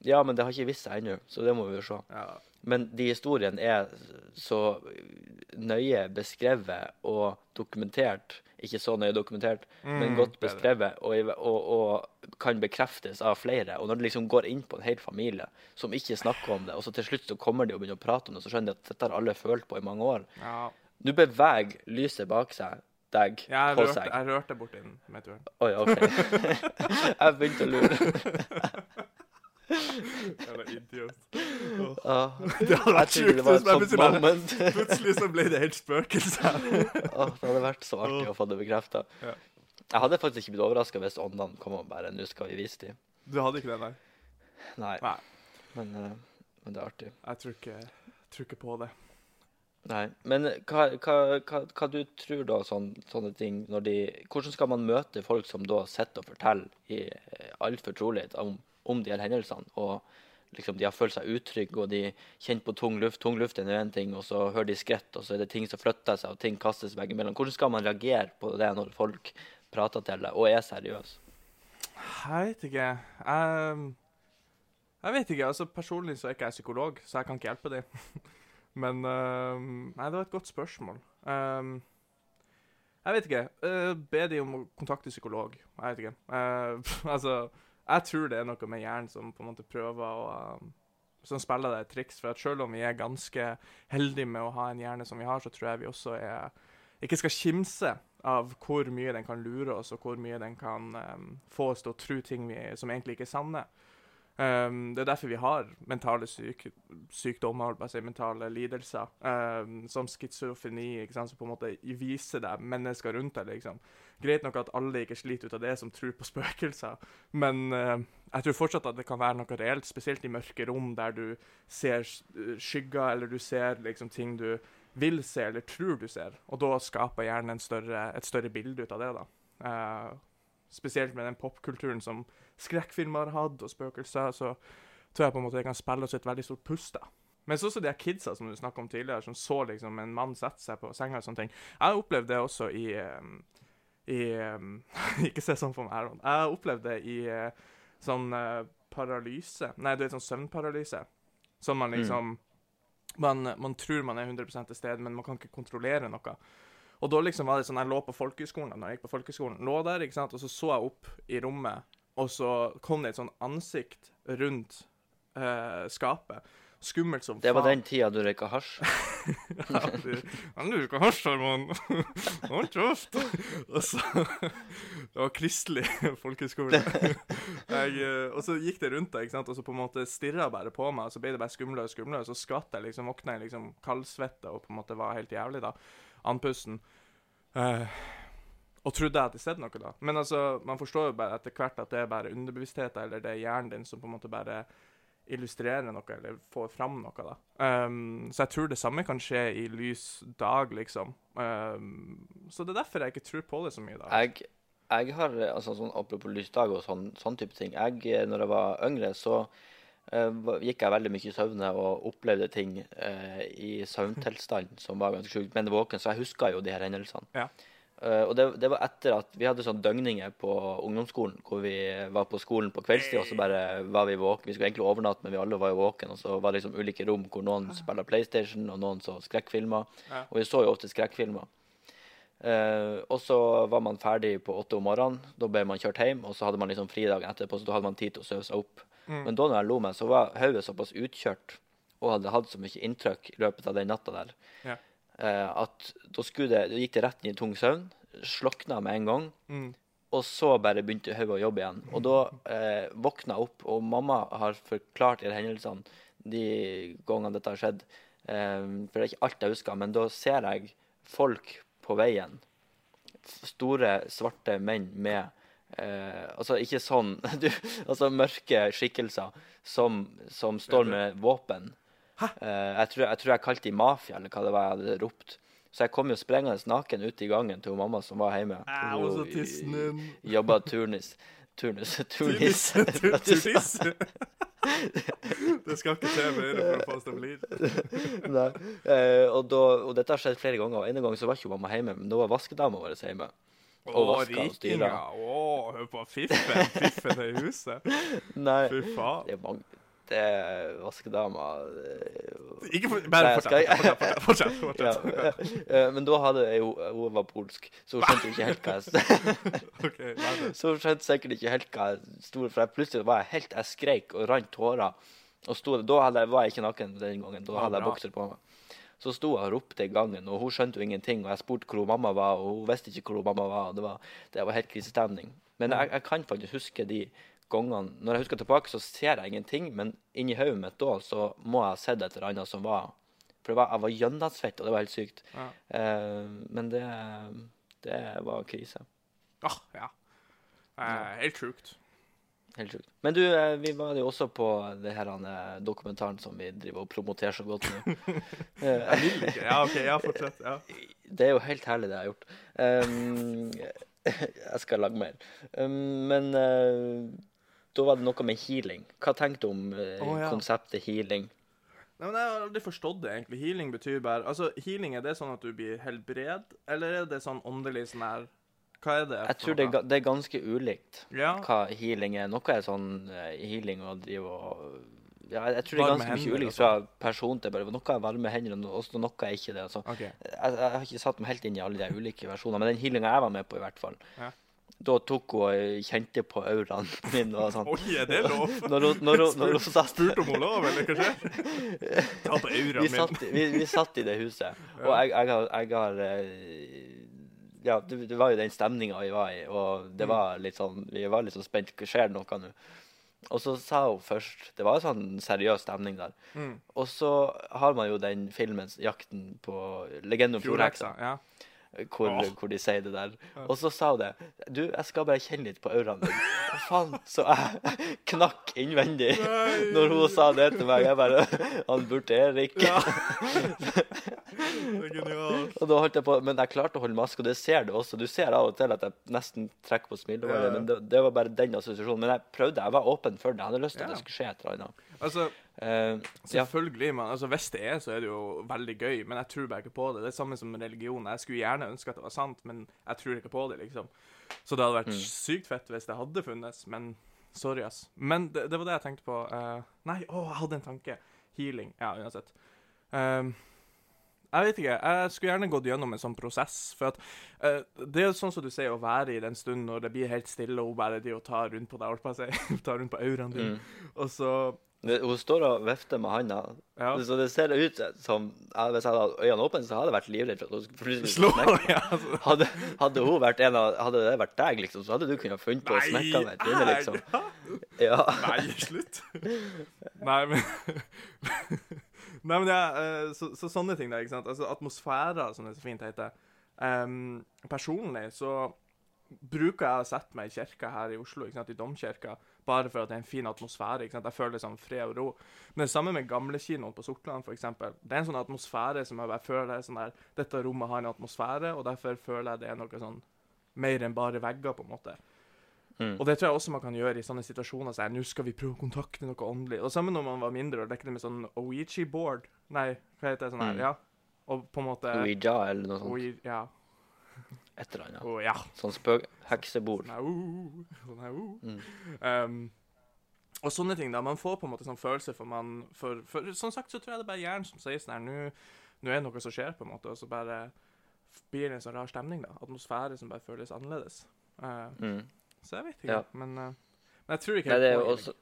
Speaker 1: Ja, men det har ikke vist seg ennå, så det må vi jo se.
Speaker 2: ja.
Speaker 1: Men de historiene er så nøye beskrevet og dokumentert. Ikke så nøye dokumentert,
Speaker 2: Mm,
Speaker 1: men godt
Speaker 2: bedre.
Speaker 1: beskrevet og, i- og, og kan bekreftes av flere. Og når det liksom går inn på en hel familie som ikke snakker om det, og så til slutt så kommer de og begynner å prate om det, så skjønner de at dette har alle følt på i mange år.
Speaker 2: ja.
Speaker 1: Nå beveger lyset bak seg deg
Speaker 2: Ja, jeg
Speaker 1: på
Speaker 2: rørte,
Speaker 1: seg.
Speaker 2: jeg rørte borti den med turen.
Speaker 1: Oi, OK. jeg begynte å lure.
Speaker 2: Jævla idiot.
Speaker 1: Åh,
Speaker 2: Det hadde
Speaker 1: jeg
Speaker 2: vært
Speaker 1: trodde
Speaker 2: sjukt
Speaker 1: det var
Speaker 2: hvis
Speaker 1: et
Speaker 2: jeg
Speaker 1: sånt
Speaker 2: plutselig bare-
Speaker 1: moment.
Speaker 2: Plutselig så ble det helt spøkelse.
Speaker 1: Åh, det hadde vært så artig å få det bekrefta.
Speaker 2: Ja.
Speaker 1: Jeg hadde faktisk ikke blitt overraska hvis åndene kom og bare Nå skal vi vise dem.
Speaker 2: Du hadde ikke det, nei?
Speaker 1: Nei.
Speaker 2: Nei.
Speaker 1: Men, eh, men det er artig.
Speaker 2: Jeg tror ikke, tror ikke på det.
Speaker 1: Nei. Men hva, hva, hva, hva du tror da, sånn, sånne ting når de Hvordan skal man møte folk som da sitter og forteller i eh, all fortrolighet om, om de her hendelsene? og liksom De har følt seg utrygge, og de kjenner på tung luft. Tung luft er nå én ting, og så hører de skritt, og så er det ting som flytter seg, og ting kastes veggimellom. Hvordan skal man reagere på det når folk prater til deg og er seriøse?
Speaker 2: Jeg vet ikke. Jeg, jeg vet ikke. altså Personlig så er ikke jeg psykolog, så jeg kan ikke hjelpe dem. Men øhm, Nei, det var et godt spørsmål. Øhm, jeg vet ikke. Øh, be dem om å kontakte psykolog. Jeg vet ikke. Eh, altså, jeg tror det er noe med hjernen som på en måte prøver å øhm, Som spiller deg et triks. For at selv om vi er ganske heldige med å ha en hjerne som vi har, så tror jeg vi også er ikke skal kimse av hvor mye den kan lure oss, og hvor mye den kan ehm, få oss til å tro ting vi, som egentlig ikke er sanne. Ehm, det er derfor vi har mentale syk sykdommer, holdt på å si, mentale lidelser, ehm, som schizofreni, ikke sant, som på en måte viser deg mennesker rundt deg. liksom. Greit nok at alle ikke sliter ut av det, som tror på spøkelser, men ehm, jeg tror fortsatt at det kan være noe reelt, spesielt i mørke rom, der du ser s- skygger, eller du ser liksom ting du vil se eller tror du ser. Og da skaper hjernen en større, et større bilde ut av det. da. Eh, spesielt med den popkulturen som skrekkfilmer har hatt, og spøkelser, så tror jeg på en måte det kan spille oss et veldig stort pust. da. Men så også de her kidsa som du snakket om tidligere, som så liksom en mann sette seg på senga og sånne ting. Jeg har opplevd det også i, ehm, i ehm, Ikke se sånn på meg, Aron. Jeg har opplevd det i eh, sånn eh, paralyse Nei, du vet sånn søvnparalyse. Som man
Speaker 1: Mm.
Speaker 2: liksom man, man tror man er 100 til stede, men man kan ikke kontrollere noe. Og da liksom var det sånn, jeg lå på folkehøyskolen, da når jeg gikk på folkehøyskolen, lå der, ikke sant, og så så jeg opp i rommet, og så kom det et sånn ansikt rundt eh, skapet. Skummelt som
Speaker 1: Det var
Speaker 2: faen.
Speaker 1: den tida du røyka hasj.
Speaker 2: Ja, du- Han lurer ikke hasj, Herman. Hold kjeft. Og så Det var kristelig folkehøyskole. Jeg, eh, Og så gikk det rundt deg, ikke sant? og så på en måte stirra bare på meg, og så ble det bare skumlere og skumlere, og så skvatt jeg, liksom, våkna jeg liksom kaldsvette og på en måte var helt jævlig, da. Andpusten. Eh, og trodde jeg hadde sett noe, da. Men altså, man forstår jo bare etter hvert at det er bare underbevisstheten eller det er hjernen din som på en måte bare illustrere noe eller få fram noe. da. Ehm, så jeg tror det samme kan skje i lys dag, liksom. Ehm, så det er derfor jeg ikke tror på det så mye. da.
Speaker 1: Jeg, jeg har, eh, altså sånn apropos lysdag og sånn, sånn type ting, jeg, eh, når jeg var yngre, så eh, va- gikk jeg veldig mye i søvne og opplevde ting eh, i søvntilstand som var ganske sjukt, men våken, så jeg huska jo de her hendelsene.
Speaker 2: Ja.
Speaker 1: Eh, og det, det var etter at vi hadde sånn døgninger på ungdomsskolen, hvor vi var på skolen på kveldstid, og så bare var vi våken. Vi skulle egentlig overnatte, men vi alle var jo våken, og så var det liksom ulike rom hvor noen spiller Playstation, og noen så skrekkfilmer,
Speaker 2: Ja.
Speaker 1: og vi så jo ofte skrekkfilmer. Eh, og så var man ferdig på åtte om morgenen. Da ble man kjørt hjem, og så hadde man liksom fri dagen etterpå, så da hadde man tid til å sove seg opp. Men da når jeg lo meg, så var hodet såpass utkjørt og hadde hatt så mye inntrykk i løpet av den natta der,
Speaker 2: Ja.
Speaker 1: eh, at da, skulle det, da gikk det rett inn i tung søvn, slokna med en gang,
Speaker 2: Mm.
Speaker 1: og så bare begynte hodet å jobbe igjen. Og da eh, våkna jeg opp, og mamma har forklart de her hendelsene de gangene dette har skjedd. Eh, for det er ikke alt jeg husker, men da ser jeg folk på veien. F- Store, svarte menn med eh, Altså ikke sånn du, Altså mørke skikkelser som, som står med våpen. Eh, jeg, tror, jeg tror jeg kalte de mafia, eller hva det var jeg hadde ropt. Så jeg kom jo sprengende naken ut i gangen til hun mamma som var hjemme.
Speaker 2: Au,
Speaker 1: Hun-
Speaker 2: så tissen din.
Speaker 1: Jobba turnus. Turnus. Turnis.
Speaker 2: Turtisse. tur- Turtisse. det skal ikke til mer for å få oss til å bli
Speaker 1: Nei. Eh, og, da, og dette har skjedd flere ganger. og En gang så var ikke mamma hjemme, men da var vaskedama vår hjemme. Og
Speaker 2: Å,
Speaker 1: vaska og
Speaker 2: rikinga.
Speaker 1: styra.
Speaker 2: Å, hør på fiffen. Fiffen er i huset.
Speaker 1: Nei,
Speaker 2: Fy faen.
Speaker 1: det er mange det er vaskedama eh,
Speaker 2: Ikke for,
Speaker 1: Nei,
Speaker 2: bare
Speaker 1: jeg skal-
Speaker 2: fortsett. Fortsett. fortsett, fortsett,
Speaker 1: ja.
Speaker 2: fortsett.
Speaker 1: Eh, Men da hadde jeg jo Hun var polsk, så hun skjønte jo ikke helt hva jeg
Speaker 2: Ok, nei, det-
Speaker 1: Så hun skjønte sikkert ikke helt hva jeg sto for. Jeg plutselig var jeg helt Jeg skreik og rant tårer. Og sto, da hadde jeg, var jeg ikke naken den gangen. Da
Speaker 2: Ah,
Speaker 1: hadde jeg
Speaker 2: bra.
Speaker 1: bokser på meg. Så sto jeg og ropte i gangen, og hun skjønte jo ingenting. Og jeg spurte hvor hun mamma var, og hun visste ikke hvor hun mamma var. og Det var, det var helt krisestemning. Men jeg, jeg kan faktisk huske de gangene Når jeg husker tilbake, så ser jeg ingenting, men inni hodet mitt da så må jeg ha sett et eller annet som var For det var, jeg var gjennomsvett, og det var helt sykt.
Speaker 2: Ja.
Speaker 1: Eh, men det, det var krise.
Speaker 2: Ah, ja. Eh, helt sjukt.
Speaker 1: Helt sjukt. Men du, eh, vi var jo også på det her eh, dokumentaren som vi driver og promoterer så godt nå. Eh,
Speaker 2: Jeg vil ikke. Ja, OK, ja, fortsett. Ja.
Speaker 1: Det er jo helt herlig, det jeg har gjort. Ehm, jeg skal lage mer. Ehm, men eh, da var det noe med healing. Hva tenkte du om eh,
Speaker 2: Å, ja.
Speaker 1: konseptet healing?
Speaker 2: Nei, men Jeg har aldri forstått det, egentlig. Healing betyr bare Altså, healing, er det sånn at du blir helbred, eller er det sånn åndelig sånn her Hva er det?
Speaker 1: Jeg
Speaker 2: for
Speaker 1: tror det er,
Speaker 2: noe?
Speaker 1: ga- det er ganske ulikt
Speaker 2: Ja.
Speaker 1: hva healing er. Noe er sånn eh, healing og drive og ja, jeg jeg tror det er
Speaker 2: Varme
Speaker 1: ganske mye
Speaker 2: hender altså. og
Speaker 1: ulikt fra person til person. Noe er varme hender, og no- også noe er ikke det. Altså.
Speaker 2: OK.
Speaker 1: jeg, jeg har ikke satt meg helt inn i alle de ulike versjonene, men den healinga jeg var med på, i hvert fall
Speaker 2: Ja.
Speaker 1: Da tok hun og kjente på auraen min og sånn.
Speaker 2: Oi, er det lov?
Speaker 1: Når hun, når hun, når hun satt
Speaker 2: Spurte om hun lov, eller hva skjer? Ta på
Speaker 1: vi
Speaker 2: auraen min.
Speaker 1: satt, vi, vi satt i det huset, og jeg, jeg har, jeg har eh, Ja, det, det var jo den stemninga vi var i, og
Speaker 2: Mm.
Speaker 1: det var litt sånn, vi var litt sånn spent. Hva skjer det noe nå? Og så sa hun først Det var en sånn seriøs stemning der.
Speaker 2: Mm.
Speaker 1: Og så har man jo den filmen 'Jakten på legenden om
Speaker 2: Fjordheksa.
Speaker 1: fjordheksa'.
Speaker 2: Ja.
Speaker 1: hvor,
Speaker 2: Åh.
Speaker 1: hvor de sier det der. Og så sa hun det. Du, jeg skal bare kjenne litt på auraen din. Og faen, så jeg knakk innvendig
Speaker 2: Nei.
Speaker 1: når hun sa det til meg. Jeg bare Han burde Erik.
Speaker 2: ja. Det er genialt.
Speaker 1: Og da holdt jeg på, Men jeg klarte å holde maske, og det ser du også. Du ser av og til at jeg nesten trekker på smilebåndet,
Speaker 2: Ja.
Speaker 1: men det, det var bare den assosiasjonen. Men jeg prøvde, jeg var åpen for det. Jeg hadde lyst til
Speaker 2: Ja.
Speaker 1: at det skulle skje et eller annet.
Speaker 2: Altså,
Speaker 1: Eh, ja.
Speaker 2: Selvfølgelig, men altså, hvis det er, så er det jo veldig gøy, men jeg tror bare ikke på det. Det er samme som religion. Jeg skulle gjerne ønske at det var sant, men jeg tror ikke på det, liksom. Så det hadde vært sykt fett hvis det hadde funnes, men sorry, ass. Men det, det var det jeg tenkte på. eh, nei, å, jeg hadde en tanke. Healing. Ja, uansett. Ehm, jeg vet ikke. Jeg skulle gjerne gått gjennom en sånn prosess. For at eh, det er jo sånn som du sier, å være i den stunden når det blir helt stille, og hun bare de og tar rundt på deg, holdt på å si, tar rundt på auraen din, og så
Speaker 1: Det- Hun står og vifter med handa,
Speaker 2: Ja.
Speaker 1: så det ser ut som ja, Hvis jeg hadde hatt øynene åpne, så hadde jeg vært livredd for at hun skulle plutselig
Speaker 2: Slå!
Speaker 1: skulle knekke.
Speaker 2: Ja, altså.
Speaker 1: Hadde, hadde hun vært en av Hadde det vært deg, liksom, så hadde du kunnet funnet på å smekke henne et inne, liksom. Ja.
Speaker 2: Nei, slutt. Nei, men Nei, men jeg, eh, så, så sånne ting der, ikke sant. Altså atmosfærer, som det så fint heter. Em, personlig så bruker jeg å sette meg i kirka her i Oslo, ikke sant, i domkirka, bare for at det er en fin atmosfære. ikke sant, Jeg føler sånn fred og ro. Men det samme med gamlekinoen på Sortland, for eksempel. Det er en sånn atmosfære som jeg bare føler sånn der Dette rommet har en atmosfære, og derfor føler jeg det er noe sånn mer enn bare vegger, på en måte.
Speaker 1: Mm.
Speaker 2: Og det tror jeg også man kan gjøre i sånne situasjoner. Så her, nå skal vi prøve å kontakte noe åndelig. Og sammen når man var mindre og lekte med sånn Oichi-board. Nei, hva heter det sånn her?
Speaker 1: Mm.
Speaker 2: Ja. Og på en måte
Speaker 1: Ouija eller noe sånt.
Speaker 2: Oi, ja.
Speaker 1: Et eller annet.
Speaker 2: Oh, ja.
Speaker 1: Sånn spøk... Heksebord.
Speaker 2: Sånn her, oh, sånn her, oh.
Speaker 1: Mm.
Speaker 2: Um, og sånne ting, da. Man får på en måte sånn følelse for man for, for Som sagt så tror jeg det er bare hjernen som sier sånn her Nå nå er det noe som skjer, på en måte, og så bare blir det en sånn rar stemning, da. Atmosfære som bare føles annerledes. Eh,
Speaker 1: Mm.
Speaker 2: så jeg vet ikke,
Speaker 1: Ja.
Speaker 2: men, eh, men jeg tror ikke
Speaker 1: Nei, det er
Speaker 2: helt
Speaker 1: jo
Speaker 2: på
Speaker 1: også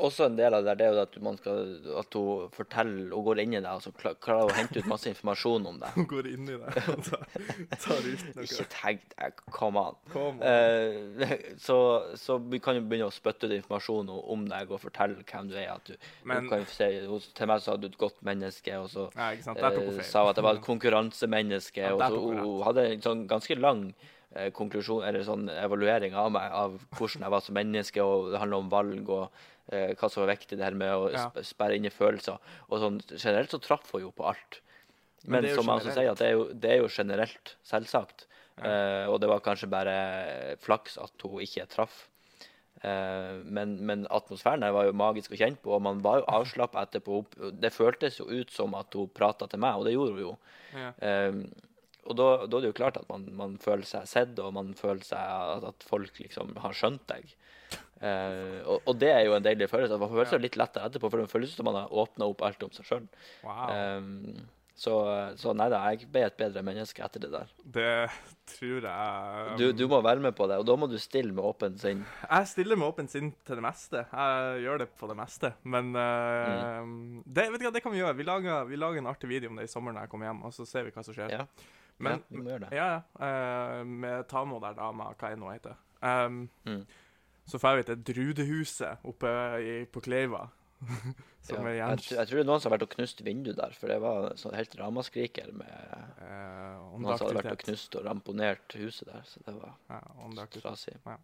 Speaker 1: også en del av det der, det er jo at man skal, at hun forteller og går inn i deg og så kla- klarer hun å hente ut masse informasjon om deg.
Speaker 2: Hun liksom går inn i deg og tar, tar ut noe.
Speaker 1: Ikke tenk deg, come on.
Speaker 2: Kom.
Speaker 1: Eh, så, så vi kan jo begynne å spytte ut informasjon o- om deg og fortelle hvem du er. At du,
Speaker 2: Men-
Speaker 1: du kan jo si, hun- til meg sa du er et godt menneske, og så
Speaker 2: Nei, ikke sant. Der tok
Speaker 1: eh,
Speaker 2: hun feil.
Speaker 1: sa hun at jeg var et konkurransemenneske.
Speaker 2: Ja,
Speaker 1: og
Speaker 2: der
Speaker 1: så
Speaker 2: tok hun
Speaker 1: hun
Speaker 2: rett.
Speaker 1: hun hadde en sånn ganske lang eh, konklusjon, eller sånn evaluering av meg, av hvordan jeg var som menneske, og det handler om valg og eh, hva som var viktig, det her med å
Speaker 2: Ja.
Speaker 1: sp- sperre inn i følelser. Og sånn, generelt så traff hun jo på alt.
Speaker 2: Men
Speaker 1: Men,
Speaker 2: det er jo
Speaker 1: som jeg også
Speaker 2: generelt.
Speaker 1: sier, at det er jo, det er jo generelt, selvsagt. Eh, og det var kanskje bare flaks at hun ikke traff. Eh, men, men atmosfæren her var jo magisk å kjenne på, og man var jo avslappa etterpå. Det føltes jo ut som at hun prata til meg, og det gjorde hun jo.
Speaker 2: Ja.
Speaker 1: Eh, og da, da er det jo klart at man, man føler seg sett, og man føler seg at, at folk liksom har skjønt deg. Eh, og, og det er jo en deilig følelse. at Man føler seg litt lettere etterpå, for det føles som man har åpna opp alt om seg sjøl.
Speaker 2: Wow.
Speaker 1: Ehm, Så, så nei da, jeg ble et bedre menneske etter det der.
Speaker 2: Det tror jeg
Speaker 1: Du, du må være med på det, og da må du stille med åpent sinn.
Speaker 2: Jeg stiller med åpent sinn til det meste. Jeg gjør det på det meste. Men eh,
Speaker 1: Mm.
Speaker 2: det, vet du hva, det kan vi gjøre. Vi lager, vi lager en artig video om det i sommer når jeg kommer hjem, og så ser vi hva som skjer.
Speaker 1: Ja.
Speaker 2: Men,
Speaker 1: ja, vi må gjøre det.
Speaker 2: ja, ja. eh, med Tamo der dama, hva enn hun heter. Um,
Speaker 1: Mm.
Speaker 2: Så får vi til Drudehuset oppe i, på Kleiva. som
Speaker 1: Ja.
Speaker 2: er
Speaker 1: Jeg,
Speaker 2: jern...
Speaker 1: tr- jeg tror det er noen som har vært og knust vinduet der, for det var sånn helt ramaskriker med
Speaker 2: eh,
Speaker 1: noen som hadde vært og
Speaker 2: åndeaktivitet.
Speaker 1: knust og ramponert huset der, så det var
Speaker 2: Ja, åndeaktivitet.
Speaker 1: trasig.
Speaker 2: Ja.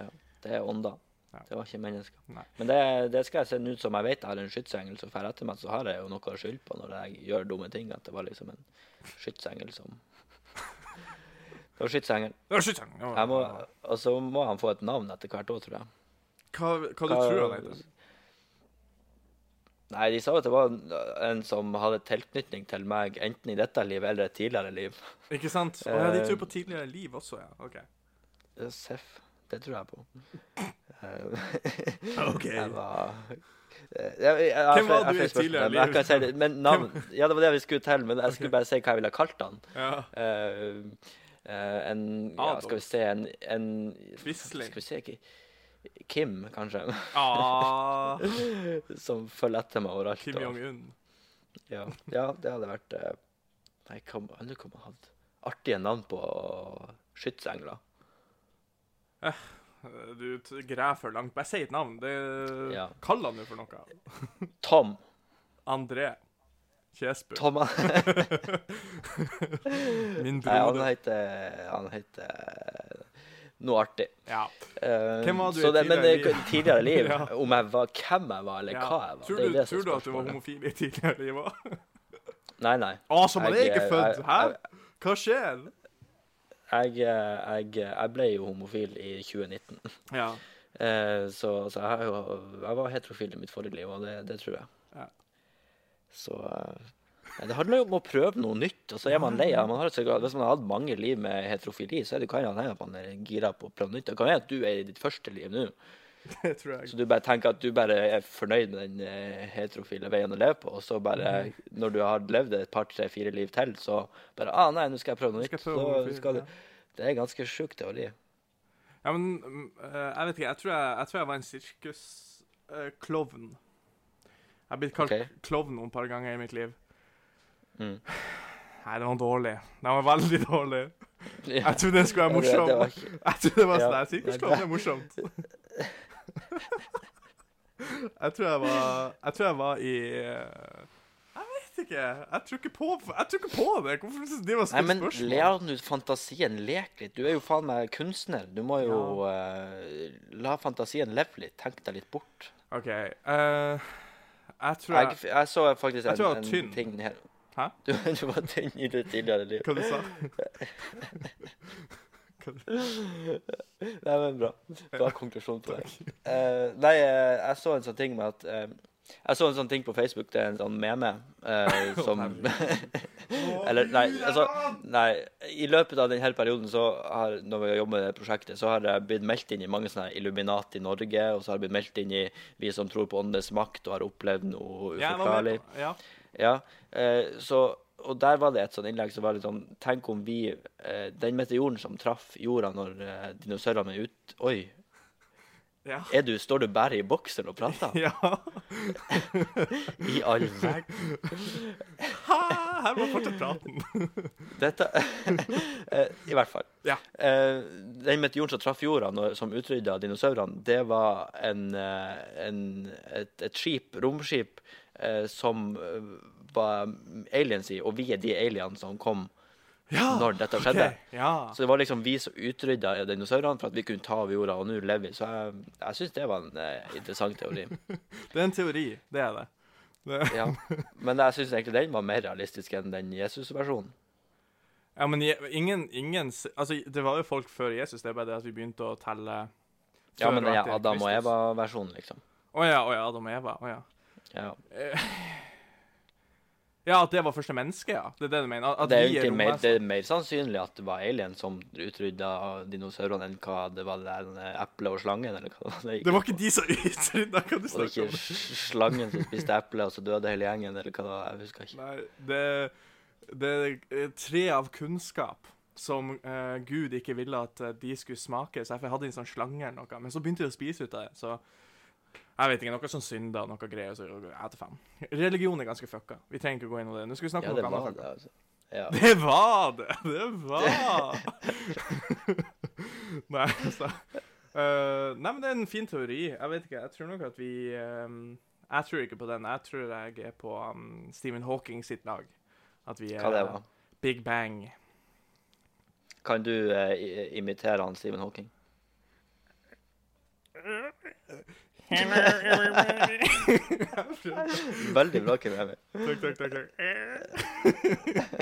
Speaker 1: Ja. Det er ånder.
Speaker 2: Ja.
Speaker 1: Det var ikke mennesker.
Speaker 2: Nei.
Speaker 1: Men det, det skal jeg sende ut som jeg vet jeg har en skytsengel som drar etter meg, så har jeg jo noe å skylde på når jeg gjør dumme ting, at det var liksom en skytsengel som Det var skytsengel.
Speaker 2: Ja, skyt han! Ja,
Speaker 1: Jeg må,
Speaker 2: ja.
Speaker 1: og så må han få et navn etter hvert òg, tror jeg.
Speaker 2: Hva, hva du tror han heter?
Speaker 1: Nei, de sa jo at det var en som hadde tilknytning til meg, enten i dette livet eller et tidligere liv.
Speaker 2: Ikke sant? Å, ja, de
Speaker 1: Eh,
Speaker 2: tror på tidligere liv også, ja. OK.
Speaker 1: Eh, Seff. Det tror jeg på. Eh, jeg
Speaker 2: Jeg var-
Speaker 1: var Eh, jeg, jeg, jeg,
Speaker 2: Hvem var
Speaker 1: jeg- jeg-
Speaker 2: du i
Speaker 1: jeg- jeg-
Speaker 2: tidligere
Speaker 1: men jeg
Speaker 2: liv?
Speaker 1: kan si det, Men navn Ja, det var det vi skulle til, men jeg skulle bare si hva jeg ville ha kalt han.
Speaker 2: Ja.
Speaker 1: Eh, eh, en ja,
Speaker 2: Adolf.
Speaker 1: Skal vi se en, en
Speaker 2: Quisling.
Speaker 1: Skal vi se Ki- Kim, kanskje,
Speaker 2: Ah,
Speaker 1: som følger etter meg overalt.
Speaker 2: Kim
Speaker 1: og-
Speaker 2: Jong-un.
Speaker 1: Ja, ja det hadde vært eh, Nei, hva må- jeg lurer på om jeg hadde artige navn på skytsengler.
Speaker 2: Eh, Du t- greier for langt. Bare si et navn. Det
Speaker 1: Ja.
Speaker 2: Kall han jo for noe.
Speaker 1: Tom.
Speaker 2: André Kjesbu.
Speaker 1: Tom Nei,
Speaker 2: Min
Speaker 1: han
Speaker 2: broder.
Speaker 1: heter Han heter noe artig.
Speaker 2: Ja.
Speaker 1: Eh,
Speaker 2: Hvem var du i
Speaker 1: så det, men det,
Speaker 2: tidligere liv?
Speaker 1: tidligere liv?
Speaker 2: Ja.
Speaker 1: Hvem jeg var, hvem jeg var, eller
Speaker 2: ja.
Speaker 1: hva jeg var?
Speaker 2: Tror
Speaker 1: det er
Speaker 2: du,
Speaker 1: jo det som
Speaker 2: tror
Speaker 1: er
Speaker 2: du at du var
Speaker 1: spørsmålet.
Speaker 2: homofil i tidligere liv òg?
Speaker 1: Nei, nei.
Speaker 2: Å, som han er
Speaker 1: Jeg-
Speaker 2: ikke født!
Speaker 1: jeg-
Speaker 2: Hæ? Hva skjer?
Speaker 1: Jeg, eh, jeg, jeg ble jo homofil i 2019.
Speaker 2: Ja.
Speaker 1: Eh, så så jeg, har jo, jeg var heterofil i mitt forrige liv, og det, det tror jeg.
Speaker 2: Ja.
Speaker 1: Så eh, nei, Det handler jo om å prøve noe nytt, og så er man lei av man har, et så- Hvis man har hatt mange liv med heterofili, så er det kan jo hende at man er gira på å prøve nytt. Det kan hende at du er i ditt første liv nå,
Speaker 2: Det tror jeg.
Speaker 1: så du bare tenker at du bare er fornøyd med den eh, heterofile veien å leve på, og så
Speaker 2: Mm.
Speaker 1: bare, når du har levd et par, tre, fire liv til, så bare Ah, nei, nå skal jeg prøve noe
Speaker 2: Nå skal
Speaker 1: nytt.
Speaker 2: jeg prøve
Speaker 1: Så
Speaker 2: homofil,
Speaker 1: skal
Speaker 2: ja.
Speaker 1: du Det er ganske sjuk teori.
Speaker 2: Ja, men mm, eh, jeg vet ikke. Jeg tror jeg, jeg, tror jeg var en sirkusklovn. jeg har blitt kalt
Speaker 1: Ok.
Speaker 2: klovn noen par ganger i mitt liv.
Speaker 1: Mm.
Speaker 2: Nei, det var dårlig. Det var veldig dårlig.
Speaker 1: Ja,
Speaker 2: Jeg trodde den skulle være
Speaker 1: det- det var
Speaker 2: morsom.
Speaker 1: ikke-
Speaker 2: Jeg trodde det var sånn
Speaker 1: Ja,
Speaker 2: her. Sirkusklovn er morsomt. Jeg tror jeg var Jeg tror jeg var i eh, Jeg vet ikke. Jeg tror ikke på, jeg tror ikke på det. Hvorfor driver jeg og
Speaker 1: Nei,
Speaker 2: stiller
Speaker 1: men
Speaker 2: spørsmål?
Speaker 1: Leon, fantasien leker litt. Du er jo faen meg kunstner. Du må jo eh, la fantasien leve litt. Tenk deg litt bort.
Speaker 2: OK. eh, jeg tror
Speaker 1: Jeg,
Speaker 2: jeg
Speaker 1: jeg så faktisk
Speaker 2: Jeg
Speaker 1: en,
Speaker 2: tror jeg var
Speaker 1: en
Speaker 2: tynn.
Speaker 1: ting her.
Speaker 2: Hæ?
Speaker 1: Du, du var tynn i ditt tidligere liv.
Speaker 2: Hva du sa
Speaker 1: Nei, men bra. Bra konklusjon på det. Eh, nei, eh, jeg så en sånn ting med at eh, Jeg så en sånn ting på Facebook. Det er en sånn meme eh, som Eller, nei, altså Nei, i løpet av denne perioden så har, når vi har jobbet med det prosjektet, så har jeg blitt meldt inn i mange sånne Illuminati Norge, og så har jeg blitt meldt inn i vi som tror på åndenes makt og har opplevd noe
Speaker 2: Ja, jeg var
Speaker 1: uforklarlig.
Speaker 2: med på ja.
Speaker 1: Ja, eh, så, og der var det et sånt innlegg som var litt sånn, tenk om vi, eh, den meteoren som traff jorda når eh, dinosaurene er ut, oi,
Speaker 2: Ja.
Speaker 1: er du, står du bare i boksen og prater?
Speaker 2: ja.
Speaker 1: I all verden.
Speaker 2: Ha, her må fortsette praten.
Speaker 1: Dette, eh, i hvert fall.
Speaker 2: Ja.
Speaker 1: Eh, den meteoren som traff jorda, når, som utrydda dinosaurene, det var en, eh, en, et, et skip, romskip, eh, som eh, var aliens i, og vi er de alienene som kom
Speaker 2: Ja,
Speaker 1: når dette
Speaker 2: ok.
Speaker 1: skjedde.
Speaker 2: Ja.
Speaker 1: Så det var liksom vi som utrydda dinosaurene for at vi kunne ta over jorda, og nå lever vi. Så jeg, jeg syns det var en eh, interessant teori.
Speaker 2: Det er en teori, det er det. det.
Speaker 1: Ja. Men jeg syns egentlig den var mer realistisk enn den Jesus-versjonen.
Speaker 2: Ja, men je- ingen, ingen s- Altså, det var jo folk før Jesus, det er bare det at vi begynte å telle
Speaker 1: Ja, men den
Speaker 2: etter
Speaker 1: er Adam og
Speaker 2: Kristus.
Speaker 1: Eva-versjonen, liksom.
Speaker 2: Å ja, å ja, Adam og Eva. Å ja.
Speaker 1: Ja.
Speaker 2: Ja, at det var første menneske, ja. Det er altså. det du mener? At, at
Speaker 1: Det er jo
Speaker 2: vi
Speaker 1: ikke mer,
Speaker 2: romvesener.
Speaker 1: det er mer sannsynlig at det var alien som utrydda dinosaurene, enn hva det var det der eplet og slangen, eller hva det gikk
Speaker 2: Det var
Speaker 1: ut på.
Speaker 2: ikke de som utrydda, kan du
Speaker 1: Og
Speaker 2: snakke
Speaker 1: ikke
Speaker 2: om?
Speaker 1: s- slangen som spiste eplet, og så døde hele gjengen, eller hva det var. Jeg husker ikke.
Speaker 2: Nei, det Det er tre av kunnskap som eh, Gud ikke ville at eh, de skulle smake. Så jeg hadde en sånn slange eller noe. Men så begynte de å spise ut av det. Så jeg vet ikke. Noe sånn synder, noe greier. Så jeg vet faen. Religion er ganske fucka. Vi trenger ikke gå inn i det. Nå skal vi snakke
Speaker 1: Ja,
Speaker 2: om
Speaker 1: det
Speaker 2: noe
Speaker 1: var
Speaker 2: annet.
Speaker 1: det, altså. Ja.
Speaker 2: Det var det! Det var Nei, altså eh, Nei, men det er en fin teori. Jeg vet ikke. Jeg tror nok at vi eh, Jeg tror ikke på den. Jeg tror jeg er på um, Stephen Hawking sitt lag. At vi er
Speaker 1: Hva det var.
Speaker 2: Big Bang.
Speaker 1: Kan du eh, i- imitere han Stephen Hawking? Veldig bra, Kim Emil.
Speaker 2: Takk, takk, takk. takk.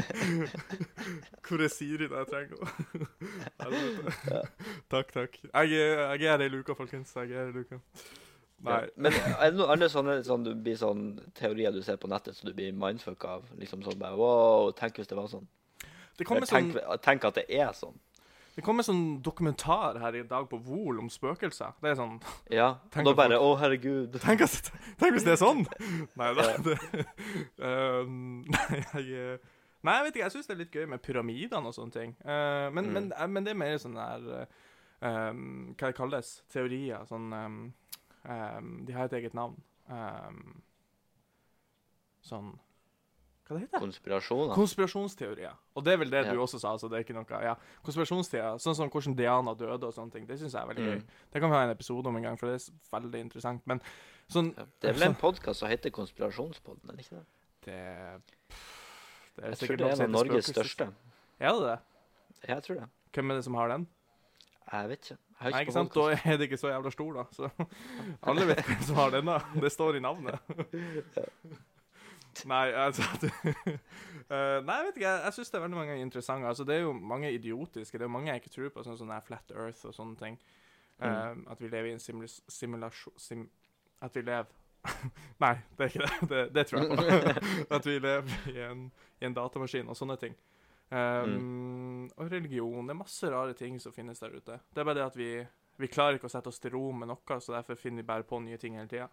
Speaker 2: Hvor er Siri når jeg trenger henne? Helvete. Takk, takk. Jeg, er- jeg er her i luka, folkens. Jeg er her i luka. Nei.
Speaker 1: Ja. Men er det noen andre sånne sånn, du blir sånn teorier du ser på nettet som du blir mindfuck av? Liksom sånn bare Wow, tenk hvis det var sånn.
Speaker 2: Det
Speaker 1: Eller
Speaker 2: kommer sånn,
Speaker 1: tenk, tenk at det er sånn.
Speaker 2: det kom en sånn dokumentar her i dag på Vol om spøkelser. Det er sånn
Speaker 1: Ja.
Speaker 2: Tenk
Speaker 1: Og da
Speaker 2: at
Speaker 1: bare Å, herregud.
Speaker 2: Tenk, at, tenk hvis det er sånn! Nei da.
Speaker 1: Ja.
Speaker 2: Det, um, nei, jeg eh, Nei, jeg vet ikke. Jeg syns det er litt gøy med pyramidene og sånne ting. Eh, men,
Speaker 1: Mm.
Speaker 2: men, eh, men det er mer sånn der eh, um, Hva det kalles? Teorier. Sånn um, um, De har et eget navn. Um, sånn Hva det heter det?
Speaker 1: Konspirasjoner.
Speaker 2: Konspirasjonsteorier. Og det er vel det
Speaker 1: Ja.
Speaker 2: du også sa. så det er ikke noe, ja. Konspirasjonsteorier, Sånn som hvordan Diana døde og sånne ting. Det syns jeg er veldig
Speaker 1: Mm.
Speaker 2: gøy. Det kan vi ha en episode om en gang, for det er s- veldig interessant. Men sånn
Speaker 1: Ja. Det er vel en podkast som heter Konspirasjonspodden, er det ikke det?
Speaker 2: Det, pff, det er
Speaker 1: Jeg
Speaker 2: sikkert
Speaker 1: tror det
Speaker 2: noen
Speaker 1: er en
Speaker 2: som
Speaker 1: av
Speaker 2: heter
Speaker 1: Norges
Speaker 2: Spøkelses-
Speaker 1: største.
Speaker 2: Er det det?
Speaker 1: Ja, Jeg tror det.
Speaker 2: Hvem er det som har den?
Speaker 1: Jeg vet ikke. Jeg
Speaker 2: Nei,
Speaker 1: har
Speaker 2: ikke
Speaker 1: ikke
Speaker 2: sant?
Speaker 1: på
Speaker 2: Da er det ikke så jævla stor, da. Så alle vet hvem som har den, da. Det står i navnet. Nei, altså det, Eh, Nei, jeg vet ikke. Jeg, jeg syns det er veldig mange interessante Altså, det er jo mange idiotiske Det er jo mange jeg ikke tror på, sånn som det er Flat Earth og sånne ting. Eh, At vi lever i en simulus- simulasjon sim, At vi lever Nei, det er ikke det. Det, det tror jeg på. at vi lever i en, i en datamaskin og sånne ting.
Speaker 1: Mm.
Speaker 2: Um, Og religion. Det er masse rare ting som finnes der ute. Det er bare det at vi, vi klarer ikke å sette oss til ro med noe, så derfor finner vi bare på nye ting hele tida.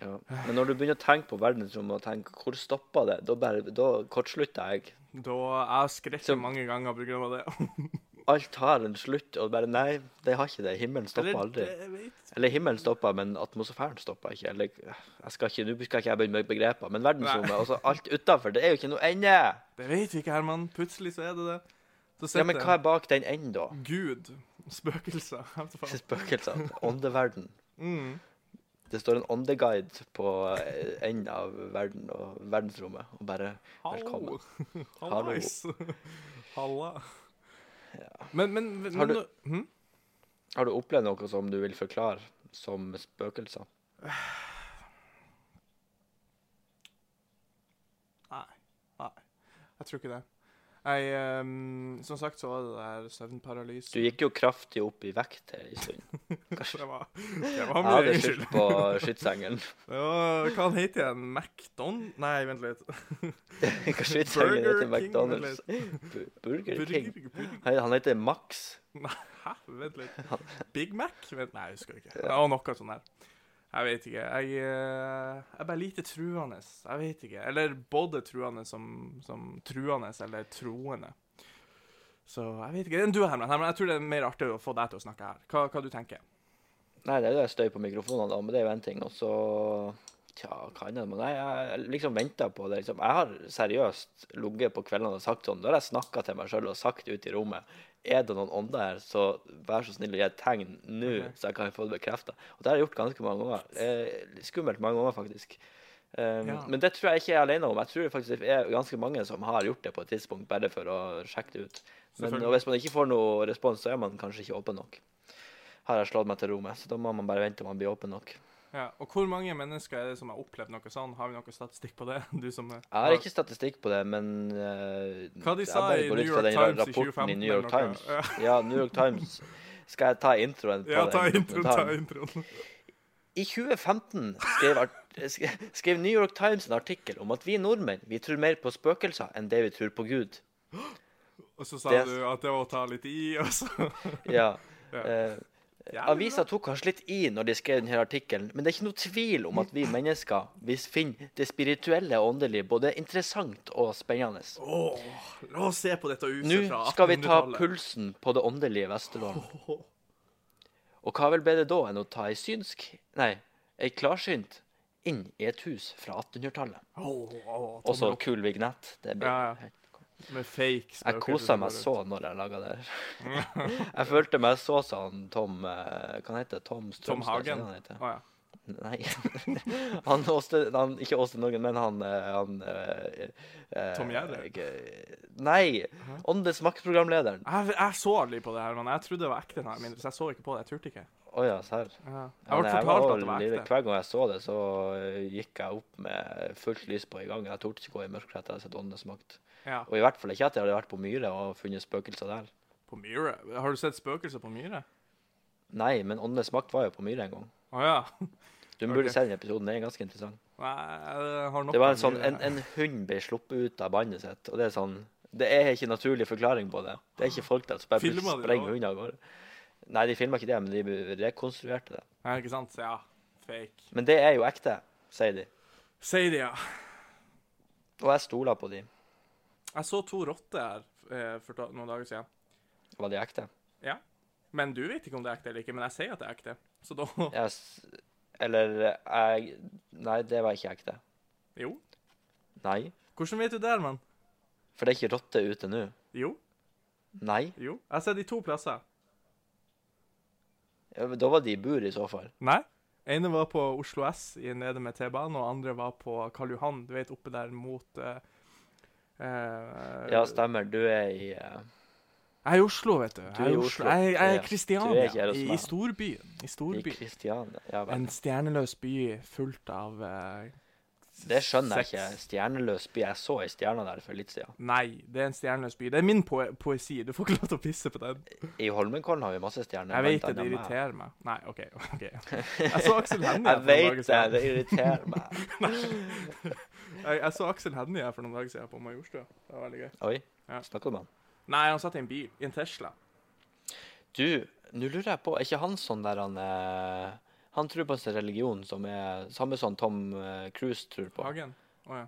Speaker 1: Ja. Men når du begynner å tenke på verdensrommet og tenke hvor stopper det, da, bare, da kortslutter jeg.
Speaker 2: Da jeg skrekker
Speaker 1: Så-
Speaker 2: mange ganger på grunn av det.
Speaker 1: Alt har en slutt, og bare nei, det har ikke det. Himmelen stopper aldri.
Speaker 2: det- jeg vet-
Speaker 1: Eller himmelen stopper, men atmosfæren stopper ikke. Eller jeg skal ikke, nå skal ikke jeg begynne med begreper, men verdensrommet, altså alt utafor, det er jo ikke noe ende.
Speaker 2: Det vet vi ikke, Herman. Plutselig så er det det. Så
Speaker 1: Ja,
Speaker 2: sitter
Speaker 1: men hva er bak den enden, da?
Speaker 2: Gud, spøkelser jeg vet faen.
Speaker 1: Spøkelser. Åndeverden.
Speaker 2: mm.
Speaker 1: Det står en åndeguide på eh, enden av verden og verdensrommet, og bare Velkommen.
Speaker 2: Hallo.
Speaker 1: Hallo.
Speaker 2: Hallais. Halla. Men, men, men
Speaker 1: Har du-
Speaker 2: nå- hm?
Speaker 1: Har du opplevd noe som du vil forklare som spøkelser?
Speaker 2: Nei. Nei. Jeg tror ikke det. Jeg, ehm, som sagt så var det der søvnparalyse.
Speaker 1: Du gikk jo kraftig opp i vekt her en stund.
Speaker 2: Det var, det var
Speaker 1: Jeg
Speaker 2: min
Speaker 1: hadde
Speaker 2: egen skyld.
Speaker 1: skyldt på skytsengelen.
Speaker 2: Det var- Hva han heter igjen? McDon... Nei, vent litt.
Speaker 1: Hva skytsengelen heter
Speaker 2: Burger King,
Speaker 1: McDonald's? Bu- Burger King?
Speaker 2: Burger- Burger-
Speaker 1: Hei, Han heter Max.
Speaker 2: Hæ? Vent litt. Big Mac? Vent, nei, jeg husker ikke. Det var noe sånn her. Jeg vet ikke. Jeg, eh, jeg er bare lite truende. Jeg vet ikke. Eller både truende som, som truende eller troende. Så jeg vet ikke. Enn du, Herman. Herman, jeg tror det er mer artig å få deg til å snakke her. Hva, hva du tenker
Speaker 1: Nei, det er jo støy på mikrofonene, da, men det er jo én ting. Og så Tja, hva annet? Men nei, jeg liksom venta på det. liksom. Jeg har seriøst ligget på kveldene og sagt sånn. Da har jeg snakka til meg sjøl og sagt ut i rommet Er det noen ånder her, så vær så snill å gi et tegn nå,
Speaker 2: Ok.
Speaker 1: så jeg kan få det bekrefta. Og det har jeg gjort ganske mange ganger. Eh, skummelt mange ganger, faktisk. Um,
Speaker 2: Ja.
Speaker 1: Men det tror jeg ikke jeg er alene om. Jeg tror faktisk det er ganske mange som har gjort det på et tidspunkt, bare for å sjekke det ut. Men
Speaker 2: Selvfølgelig.
Speaker 1: og hvis man ikke får noe respons, så er man kanskje ikke åpen nok. Har jeg slått meg til rommet, så da må man bare vente til man blir åpen nok.
Speaker 2: ja, Og hvor mange mennesker er det som har opplevd noe sånn? Har vi noe statistikk på det? Du som eh,
Speaker 1: Jeg har ikke statistikk på det, men eh,
Speaker 2: Hva de
Speaker 1: jeg
Speaker 2: sa
Speaker 1: bare
Speaker 2: i
Speaker 1: går ut
Speaker 2: New
Speaker 1: fra
Speaker 2: York
Speaker 1: den ra-
Speaker 2: Times i
Speaker 1: rapporten
Speaker 2: 2015
Speaker 1: New York
Speaker 2: eller noe.
Speaker 1: Times. Ja, New York Times. Skal jeg ta introen på
Speaker 2: Ja, ta
Speaker 1: den
Speaker 2: introen, ta
Speaker 1: dokumentaren?
Speaker 2: introen.
Speaker 1: I 2015 skrev, art sk- skrev New York Times en artikkel om at vi nordmenn vi tror mer på spøkelser enn det vi tror på Gud.
Speaker 2: Og så sa
Speaker 1: Det-
Speaker 2: du at det var å ta litt i, og så
Speaker 1: Ja.
Speaker 2: Ja.
Speaker 1: eh,
Speaker 2: Jævlig
Speaker 1: Avisa tok kanskje litt i når de skrev denne artikkelen, men det er ikke noe tvil om at vi mennesker vi finner det spirituelle og åndelige både interessant og spennende.
Speaker 2: Åh, la oss se på dette
Speaker 1: Nå
Speaker 2: huset fra 1800-tallet.
Speaker 1: skal vi ta pulsen på det åndelige Vesterålen. Og hva vel bedre da enn å ta ei synsk, nei, ei klarsynt inn i et hus fra 1800-tallet?
Speaker 2: Åh, åh,
Speaker 1: Og så
Speaker 2: tommel opp.
Speaker 1: kul vignett. Det blir
Speaker 2: Ja, ja. Med
Speaker 1: Jeg
Speaker 2: fake spøkelser
Speaker 1: kosa
Speaker 2: som
Speaker 1: meg
Speaker 2: går
Speaker 1: så når jeg laga det her. Jeg følte meg så sånn Tom eh, Hva heter det? Tom Strømstad?
Speaker 2: Tom
Speaker 1: er det
Speaker 2: Hagen.
Speaker 1: han heter?
Speaker 2: Å, ja.
Speaker 1: Nei. Han Åste, han, ikke Åste Norgen, men han, eh, han eh, eh,
Speaker 2: Tom Gjerre?
Speaker 1: eh, Nei! Åndenes makt-programlederen.
Speaker 2: jeg, jeg så aldri på det her, men jeg trodde det var ekte. denne her mindre, så jeg så ikke på det. Jeg turte ikke.
Speaker 1: Å ja, serr.
Speaker 2: Ja.
Speaker 1: Ja,
Speaker 2: Jeg ble
Speaker 1: nei, jeg
Speaker 2: fortalt
Speaker 1: var
Speaker 2: at det var
Speaker 1: livredd.
Speaker 2: ekte.
Speaker 1: Hver gang jeg så det, så eh, gikk jeg opp med fullt lys på i gang. Jeg torde ikke gå i mørket etter at jeg hadde sett Åndenes makt.
Speaker 2: Ja.
Speaker 1: Og i hvert fall ikke at jeg hadde vært på Myre og funnet spøkelser der.
Speaker 2: På Myre? Har du sett spøkelser på Myre?
Speaker 1: Nei, men Åndenes makt var jo på Myre en gang.
Speaker 2: Å ja.
Speaker 1: Du burde se den episoden, den er ganske interessant.
Speaker 2: Nei, jeg har nok
Speaker 1: Det var en
Speaker 2: av
Speaker 1: sånn,
Speaker 2: Myhre.
Speaker 1: en, en hund ble sluppet ut av bandet sitt, og det er sånn Det er ikke naturlig forklaring på det. Det er ikke folk der som bare
Speaker 2: Filmer de
Speaker 1: plutselig
Speaker 2: det også?
Speaker 1: sprenger hunder av gårde. Nei, de filma ikke det, men de rekonstruerte det.
Speaker 2: Ja, ikke sant? Ja. Fake.
Speaker 1: Men det er jo ekte, sier de.
Speaker 2: Si det, ja.
Speaker 1: Og jeg stoler på de.
Speaker 2: Jeg så to rotter her eh, for ta- noen dager siden.
Speaker 1: Var de ekte?
Speaker 2: Ja. Men du vet ikke om det er ekte eller ikke, men jeg sier at det er ekte. Så da
Speaker 1: Jeg, s- eller jeg Nei, det var ikke ekte.
Speaker 2: Jo.
Speaker 1: Nei.
Speaker 2: Hvordan vet du det, mann?
Speaker 1: For det er ikke rotter ute nå.
Speaker 2: Jo.
Speaker 1: Nei.
Speaker 2: Jo. Jeg har sett de to plasser.
Speaker 1: Ja, men Da var de i bur, i så fall.
Speaker 2: Nei. Ene var på Oslo S i- nede med T-banen, og andre var på Karl Johan, du vet, oppe der mot eh, eh,
Speaker 1: Ja, stemmer. Du er i eh,
Speaker 2: Jeg er i Oslo, vet du. Jeg
Speaker 1: Du
Speaker 2: er i Oslo. Jeg, jeg
Speaker 1: Ja.
Speaker 2: er i
Speaker 1: Du er
Speaker 2: Kristiania,
Speaker 1: ikke her hos
Speaker 2: i, i
Speaker 1: meg.
Speaker 2: storbyen. I
Speaker 1: i
Speaker 2: storbyen.
Speaker 1: Kristiania. Ja, vel.
Speaker 2: En stjerneløs by fullt av eh,
Speaker 1: Det skjønner jeg
Speaker 2: sex.
Speaker 1: ikke. Stjerneløs by. Jeg så ei stjerne der for litt siden.
Speaker 2: Nei, det er en stjerneløs by. Det er min poe poesi. Du får ikke lov til å pisse på den.
Speaker 1: I Holmenkollen har vi masse stjerner.
Speaker 2: Jeg vet
Speaker 1: blant
Speaker 2: det, det
Speaker 1: annet meg.
Speaker 2: irriterer meg. Nei, OK. ok. Jeg så Aksel Hennie
Speaker 1: Jeg
Speaker 2: her for
Speaker 1: vet
Speaker 2: noen dager
Speaker 1: det,
Speaker 2: siden.
Speaker 1: det irriterer meg.
Speaker 2: Jeg, jeg så Aksel Hennie her for noen dager siden på Majorstua. Det var veldig gøy.
Speaker 1: Oi,
Speaker 2: Ja.
Speaker 1: snakker du med han?
Speaker 2: Nei, han satt i en bil. I en Tesla.
Speaker 1: Du, nå lurer jeg på, er ikke han sånn der han eh, Han tror på en sånn religion som er samme som Tom eh, Cruise tror på.
Speaker 2: Hagen? Å ja.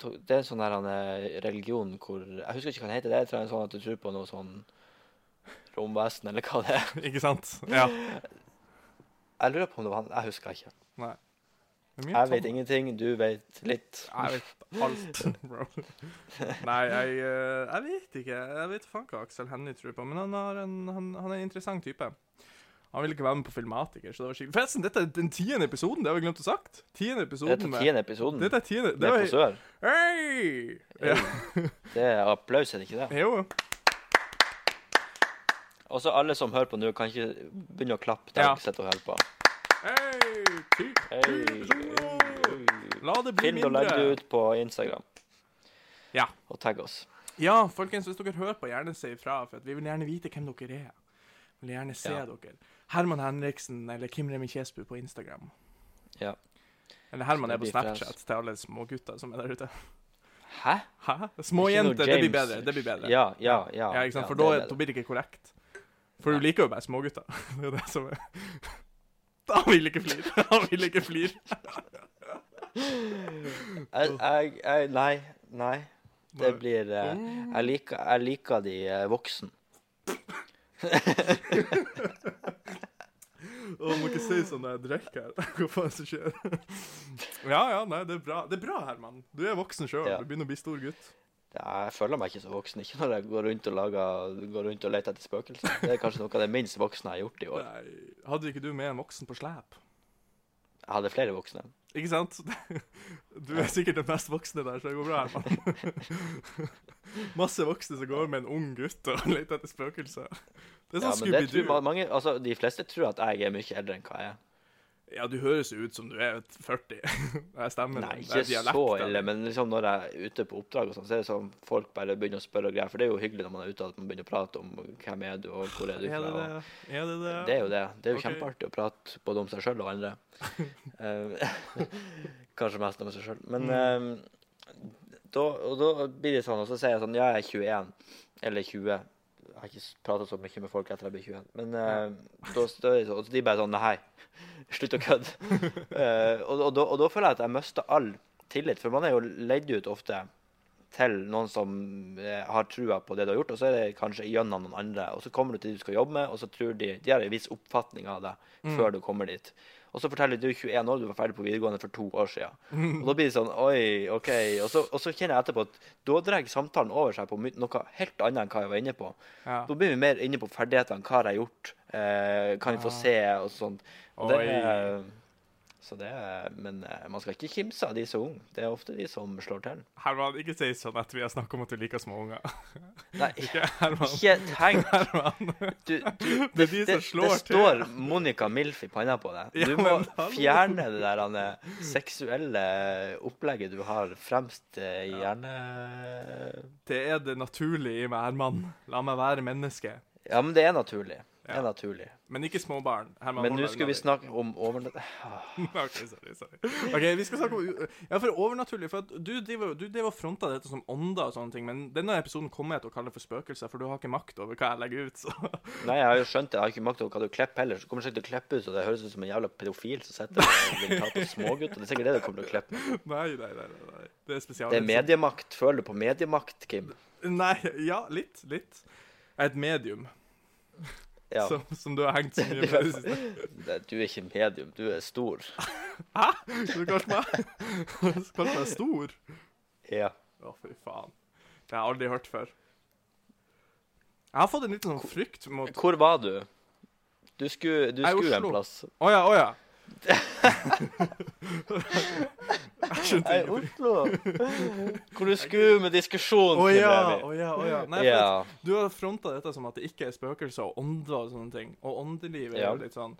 Speaker 1: To- Det er en sånn der han eh, religion hvor Jeg husker ikke hva den heter, det er tror jeg sånn at du tror på noe sånn romvesen, eller hva det er.
Speaker 2: Ikke sant? Ja.
Speaker 1: Jeg lurer på om det var han. Jeg husker ikke.
Speaker 2: Nei. Det er mye
Speaker 1: Jeg
Speaker 2: Tom.
Speaker 1: vet ingenting, du vet litt.
Speaker 2: Jeg vet alt, bro. Nei, jeg, eh, jeg vet ikke. Jeg vet faen hva Aksel Hennie tror på, men han, har en, han, han er en interessant type. Han vil ikke være med på Filmatiker, så det var skikkelig Forresten, dette er den tiende episoden, det har vi glemt å sagt. Tiende
Speaker 1: Det er
Speaker 2: episoden med
Speaker 1: tiende episoden.
Speaker 2: Dette er tiende. Det
Speaker 1: Det er på
Speaker 2: var,
Speaker 1: sør.
Speaker 2: hei! Ja,
Speaker 1: Det er applaus, er det ikke det?
Speaker 2: jo.
Speaker 1: Og så alle som hører på nå, kan ikke begynne å klappe der
Speaker 2: Ja.
Speaker 1: dere sitter og hører på.
Speaker 2: Hei! Ti episoder!
Speaker 1: Hey.
Speaker 2: La det bli
Speaker 1: Film og legg det
Speaker 2: mindre.
Speaker 1: ut på Instagram.
Speaker 2: Ja.
Speaker 1: Og tagg oss.
Speaker 2: Ja, folkens, hvis dere hører på, gjerne si ifra, for at vi vil gjerne vite hvem dere er. Vi vil gjerne se
Speaker 1: Ja.
Speaker 2: dere. Herman Henriksen eller Kim Remi Kjesbu på Instagram.
Speaker 1: Ja.
Speaker 2: Eller Herman
Speaker 1: Så
Speaker 2: er
Speaker 1: det blir
Speaker 2: på
Speaker 1: fra
Speaker 2: Snapchat til alle smågutter som er der ute.
Speaker 1: Hæ?
Speaker 2: Hæ? Små
Speaker 1: Ikke noe
Speaker 2: jenter, det
Speaker 1: James.
Speaker 2: blir bedre. Det blir bedre.
Speaker 1: Ja, ja, ja.
Speaker 2: Ja, ikke sant?
Speaker 1: ja,
Speaker 2: For
Speaker 1: det
Speaker 2: da,
Speaker 1: er
Speaker 2: er-
Speaker 1: bedre.
Speaker 2: da blir det ikke korrekt. For du liker jo bare smågutter. Det er det som er Da vil ikke flire. Han vil ikke flire.
Speaker 1: jeg, jeg, jeg, Nei. Nei. Det
Speaker 2: Nei.
Speaker 1: blir eh, Jeg liker, jeg liker de eh, voksen.
Speaker 2: Å, må ikke si sånn når jeg drikker. Hva faen som skjer? Ja, ja, nei, det er bra. Det er bra, Herman. Du er voksen sjøl.
Speaker 1: Ja.
Speaker 2: Du begynner å bli stor gutt.
Speaker 1: Det- Jeg føler meg ikke så voksen. Ikke når jeg går rundt og, lager, går rundt og leter etter spøkelser. Det er kanskje noe av det minst voksne jeg har gjort i år.
Speaker 2: Nei, hadde ikke du med en voksen på slep?
Speaker 1: Jeg hadde flere voksne.
Speaker 2: Ikke sant? Du er sikkert den mest voksne der, så det går bra. Herman. Masse voksne som går med en ung gutt og leter etter spøkelser. Det er
Speaker 1: Ja,
Speaker 2: sånn
Speaker 1: men det tror ma-
Speaker 2: Scooby-Doo.
Speaker 1: mange, altså, de fleste tror at jeg er mye eldre enn hva jeg er.
Speaker 2: Ja, du høres jo ut som du er 40. Det stemmer.
Speaker 1: Nei,
Speaker 2: det er
Speaker 1: ikke så
Speaker 2: dialekt,
Speaker 1: ille, men liksom når jeg er ute på oppdrag, og sånn, så er det sånn folk bare begynner å spørre og greier. For det er jo hyggelig når man er ute at man begynner å prate om hvem er du, og hvor er du
Speaker 2: Er det
Speaker 1: fra.
Speaker 2: det? Er det det?
Speaker 1: Og det er jo det. Det er jo
Speaker 2: Ok.
Speaker 1: kjempeartig å prate både om seg sjøl og andre. Eh, Kanskje mest om seg sjøl. Men eh, da, og da blir det sånn, og så sier jeg sånn Ja, jeg er 21. Eller 20. jeg har ikke prata så mye med folk etter jeg ble 21. Men eh, da står jeg så, og de bare sånn Nei, slutt å kødde. Eh, og, og, da- og da føler jeg at jeg mister all tillit, for man er jo ledd ut ofte til noen som eh, har trua på det du har gjort, og så er det kanskje gjennom noen andre. Og så kommer du til det du skal jobbe med, og så tror de De har en viss oppfatning av deg før du kommer dit. Og så forteller de, du er 21 år, du var ferdig på videregående for to år siden. Og da blir det sånn Oi, OK. Og så, og så kjenner jeg etterpå at da drar samtalen over seg på my- noe helt annet enn hva jeg var inne på.
Speaker 2: Ja.
Speaker 1: Da blir vi mer inne på ferdighetene. Hva har jeg gjort? Eh, kan vi få se? Og sånt. Og det er, så det er, men eh, man skal ikke kimse av de som er unge. Det er ofte de som slår til.
Speaker 2: Herman, ikke si sånn etter vi har snakka om at du liker små unger.
Speaker 1: Nei,
Speaker 2: Ikke Herman.
Speaker 1: ikke tenk
Speaker 2: Herman.
Speaker 1: du, du,
Speaker 2: Det er de som slår
Speaker 1: det
Speaker 2: til.
Speaker 1: står Monica Milf i panna på deg.
Speaker 2: Ja,
Speaker 1: Du må
Speaker 2: men hallo.
Speaker 1: fjerne det der Anne, seksuelle opplegget du har fremst eh, i hjerne...
Speaker 2: Det er det naturlige i meg, Herman. La meg være menneske.
Speaker 1: Ja, men det er naturlig. Det
Speaker 2: Ja.
Speaker 1: er naturlig.
Speaker 2: Men ikke små barn. Herman,
Speaker 1: Men
Speaker 2: hold
Speaker 1: nå
Speaker 2: deg
Speaker 1: skulle vi
Speaker 2: unna
Speaker 1: snakke om overnatt...
Speaker 2: dem. OK, sorry, sorry. Ok, Vi skal snakke om Ja, for overnaturlig. For at du driver du driver og fronta dette som ånder og sånne ting, men denne episoden kommer jeg til å kalle for spøkelser, for du har ikke makt over hva jeg legger ut, så
Speaker 1: Nei, jeg har jo skjønt det. Jeg har ikke makt over hva du klipper heller. Så kommer du sikkert til å klippe ut, så det høres ut som en jævla pedofil som sitter og vil ta på smågutter. Det er sikkert det du kommer til å klippe.
Speaker 2: Nei, nei, nei. nei, nei. Det er spesial.
Speaker 1: Det er mediemakt. Føler du på mediemakt, Kim?
Speaker 2: Nei, ja, litt. Litt. Jeg er et medium
Speaker 1: Ja.
Speaker 2: som, som du har hengt så
Speaker 1: Du
Speaker 2: mye med i det siste.
Speaker 1: er, du er ikke medium, du er stor.
Speaker 2: Så du kalte meg Du kalte meg stor?
Speaker 1: Ja.
Speaker 2: Å, fy faen. Det har jeg aldri hørt før. Jeg har fått en liten sånn frykt mot Å
Speaker 1: Hvor var du? Du skulle, du
Speaker 2: Jeg er i
Speaker 1: skulle en
Speaker 2: Oslo.
Speaker 1: plass.
Speaker 2: ja, å ja. Jeg skjønte
Speaker 1: Jeg er i
Speaker 2: ikke.
Speaker 1: Oslo. Hvor du skulle med diskusjon.
Speaker 2: Å ja,
Speaker 1: Kim Levi.
Speaker 2: å ja. å ja. Nei, for
Speaker 1: ja.
Speaker 2: Du har fronta dette som at det ikke er spøkelser og ånder og sånne ting. Og åndelivet er
Speaker 1: Ja.
Speaker 2: jo litt sånn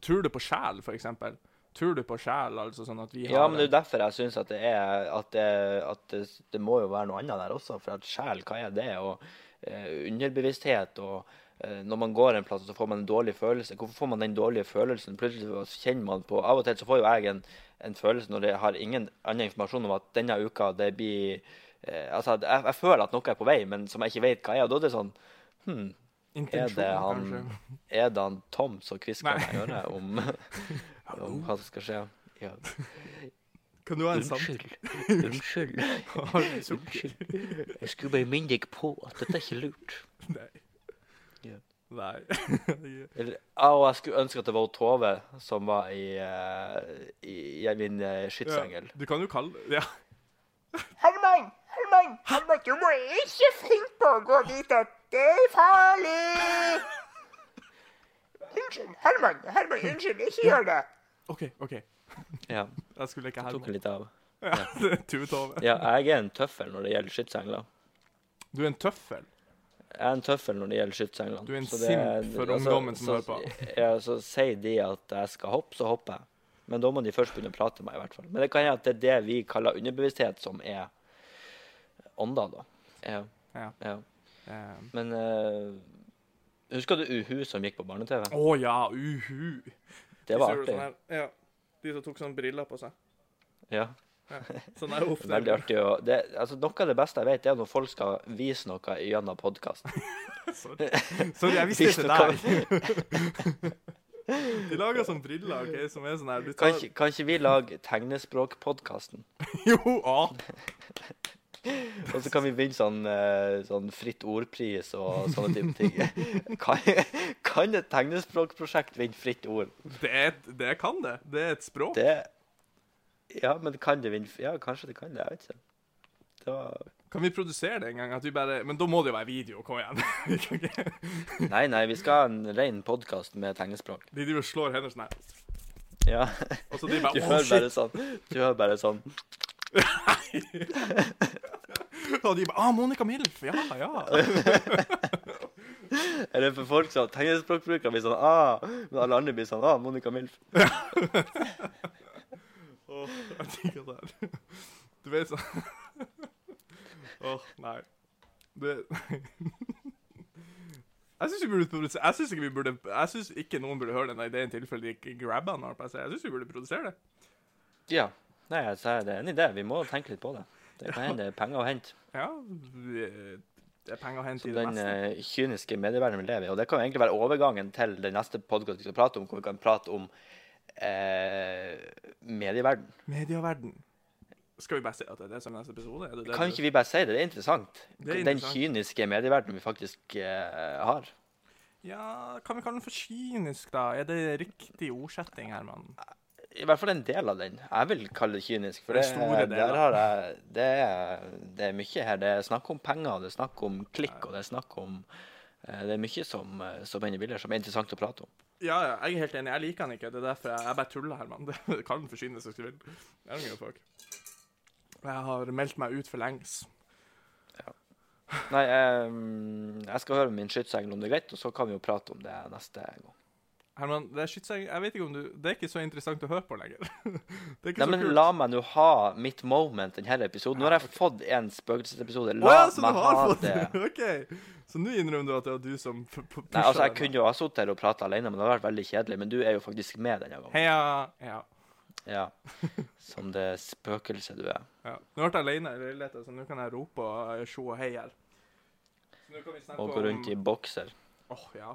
Speaker 2: Tror du på sjel, for eksempel? Tror du på sjel, altså sånn at vi har
Speaker 1: Ja, men det er
Speaker 2: en-
Speaker 1: jo derfor jeg syns at det er at, det, at det, det må jo være noe annet der også. For at sjel, hva er det? Og eh, underbevissthet og eh, Når man går en plass, så får man en dårlig følelse. Hvorfor får man den dårlige følelsen? Plutselig så kjenner man på Av og til så får jo jeg en, en følelse når jeg har ingen annen informasjon om at denne uka det blir eh, Altså, at jeg, jeg føler at noe er på vei, men som jeg ikke vet hva er. Og da er det sånn Hm, er det
Speaker 2: intensjon,
Speaker 1: han,
Speaker 2: kanskje?
Speaker 1: er det han Tom som
Speaker 2: Nei.
Speaker 1: hvisker meg i øret om, om hva som skal skje? Ja.
Speaker 2: Kan du ha en samtale?
Speaker 1: Unnskyld. Unnskyld.
Speaker 2: Har du sukker?
Speaker 1: Unnskyld. Jeg skulle bare minne deg på at dette er ikke lurt.
Speaker 2: Nei.
Speaker 1: Ja.
Speaker 2: Nei.
Speaker 1: Eller, ja, og jeg skulle ønske at det var Tove som var i, eh, i, i min eh,
Speaker 2: Ja,
Speaker 1: skytsengel.
Speaker 2: du kan jo kalle Ja.
Speaker 3: Herman, Herman, Herman, du må ikke finne på å gå dit at det er farlig. Unnskyld, Herman, Herman, unnskyld, ikke gjør det.
Speaker 2: OK, OK.
Speaker 1: Ja.
Speaker 2: Jeg skulle ikke
Speaker 1: Tok
Speaker 2: herme.
Speaker 1: den litt av.
Speaker 2: Ja, det er Tue Tove.
Speaker 1: Ja, jeg er en tøffel når det gjelder skytsengler.
Speaker 2: Du er en tøffel.
Speaker 1: Jeg er en tøffel når det gjelder skytsenglene.
Speaker 2: Du er en
Speaker 1: Så
Speaker 2: simp for ungdommen som hører på.
Speaker 1: Ja, så sier de at jeg skal hoppe, så hopper jeg. Men da må de først begynne å prate med meg, i hvert fall. Men det kan hende at det er det vi kaller underbevissthet, som er ånder, da. Ja.
Speaker 2: Ja.
Speaker 1: ja.
Speaker 2: Eh,
Speaker 1: Men eh, husker du Uhu som gikk på barne-TV?
Speaker 2: Å ja, uhu.
Speaker 1: Det var artig.
Speaker 2: sånn ja. De som tok sånne briller på seg.
Speaker 1: Ja,
Speaker 2: Sånn er ofte.
Speaker 1: veldig artig. å- det, altså, noe av det beste jeg vet, det er når folk skal vise noe gjennom podkast.
Speaker 2: Sorry. Sorry, jeg visste ikke det der. De lager sånne briller ok, som er sånn her du
Speaker 1: Kan,
Speaker 2: tar...
Speaker 1: ikke- kan ikke vi lage tegnespråkpodkasten?
Speaker 2: Jo, ah.
Speaker 1: Og så kan vi vinne sånn, eh, sånn fritt ordpris og sånne type ting. Kan, kan et tegnespråkprosjekt vinne fritt ord?
Speaker 2: det, er et, det kan det. Det er et språk.
Speaker 1: Det Ja, men kan det vinne f- Ja, kanskje det kan det. Jeg vet ikke. Det var,
Speaker 2: Kan vi produsere det en gang? At vi bare... Men da må det jo være video. Kom igjen. Vi kan ikke-
Speaker 1: nei, nei, vi skal ha en ren podkast med tegnespråk.
Speaker 2: de driver og slår hender sånn her,
Speaker 1: Ja.
Speaker 2: og så de
Speaker 1: Du
Speaker 2: bare Å,
Speaker 1: hører bare
Speaker 2: shit!
Speaker 1: sånn Du hører bare sånn
Speaker 2: Og de bare Å, Monica Milf! Ja, ja.
Speaker 1: Eller for folk som tegnespråkbrukere blir sånn ah, Men alle andre blir sånn ah, Monica Milf.
Speaker 2: Åh, jeg digger det her. Du vet sånn Åh, nei. Det Jeg syns vi burde produsere Jeg syns ikke vi burde Jeg synes ikke noen burde høre denne ideen i tilfelle de ikke grabber den. har jeg på å si. Jeg syns vi burde produsere det.
Speaker 1: Ja. Nei, altså, det er en idé. Vi må tenke litt på det. Det kan hende det er penger å hente.
Speaker 2: Ja, vi- Det er penger å hente
Speaker 1: Så
Speaker 2: i det
Speaker 1: den
Speaker 2: meste.
Speaker 1: eh, kyniske medieverdenen vi lever i. Og det kan jo egentlig være overgangen til den neste podkasten vi skal prate om, hvor vi kan prate om eh, medieverden.
Speaker 2: Medieverden. Skal vi bare si at det er det som er neste episode? Er det det
Speaker 1: Kan
Speaker 2: du-
Speaker 1: ikke vi bare si det? Det er interessant.
Speaker 2: Det er
Speaker 1: Den
Speaker 2: interessant.
Speaker 1: kyniske medieverdenen vi faktisk eh, har.
Speaker 2: Ja, kan vi kalle den for kynisk, da? Er det riktig ordsetting, Herman?
Speaker 1: I hvert fall en del av den. Jeg vil kalle det kynisk. For
Speaker 2: Den
Speaker 1: det,
Speaker 2: store delen.
Speaker 1: der har jeg, det, er, det er mye her. Det er snakk om penger, og det er snakk om klikk, og det er snakk om eh, Det er mye som, eh, som er inne i bildet, som er interessant å prate om.
Speaker 2: Ja, ja, jeg er helt enig. Jeg liker den ikke. Det er derfor jeg, jeg bare tuller, Herman. Det kan den for kynisk hvis du vil. Jeg don't give a fuck. Jeg har meldt meg ut for lengs.
Speaker 1: Nei, eh, jeg skal høre med min skytsengel om det er greit, og så kan vi jo prate om det neste gang.
Speaker 2: Herman, det er skytseng... Jeg vet ikke om du Det er ikke så interessant å høre på lenger. Det er ikke
Speaker 1: Nei, men
Speaker 2: så kult.
Speaker 1: la meg nå ha mitt moment denne episoden. Nå har jeg fått en spøkelsesepisode.
Speaker 2: Å
Speaker 1: La
Speaker 2: ja, så
Speaker 1: meg
Speaker 2: du
Speaker 1: ha
Speaker 2: har fått
Speaker 1: det.
Speaker 2: det? OK. Så nå innrømmer du at det var du som p- p- pusha
Speaker 1: Nei, altså, jeg
Speaker 2: den, da.
Speaker 1: kunne jo ha sittet her og prata alene, men det hadde vært veldig kjedelig. Men du er jo faktisk med denne gangen.
Speaker 2: Heia. Ja.
Speaker 1: Ja. Som det spøkelset du er.
Speaker 2: ja. Nå ble jeg alene i leiligheten, så nå kan jeg rope og eh, se og hei her. Så nå kan vi snakke
Speaker 1: Og gå rundt i Mm.
Speaker 2: om-
Speaker 1: bokser.
Speaker 2: Åh, ja.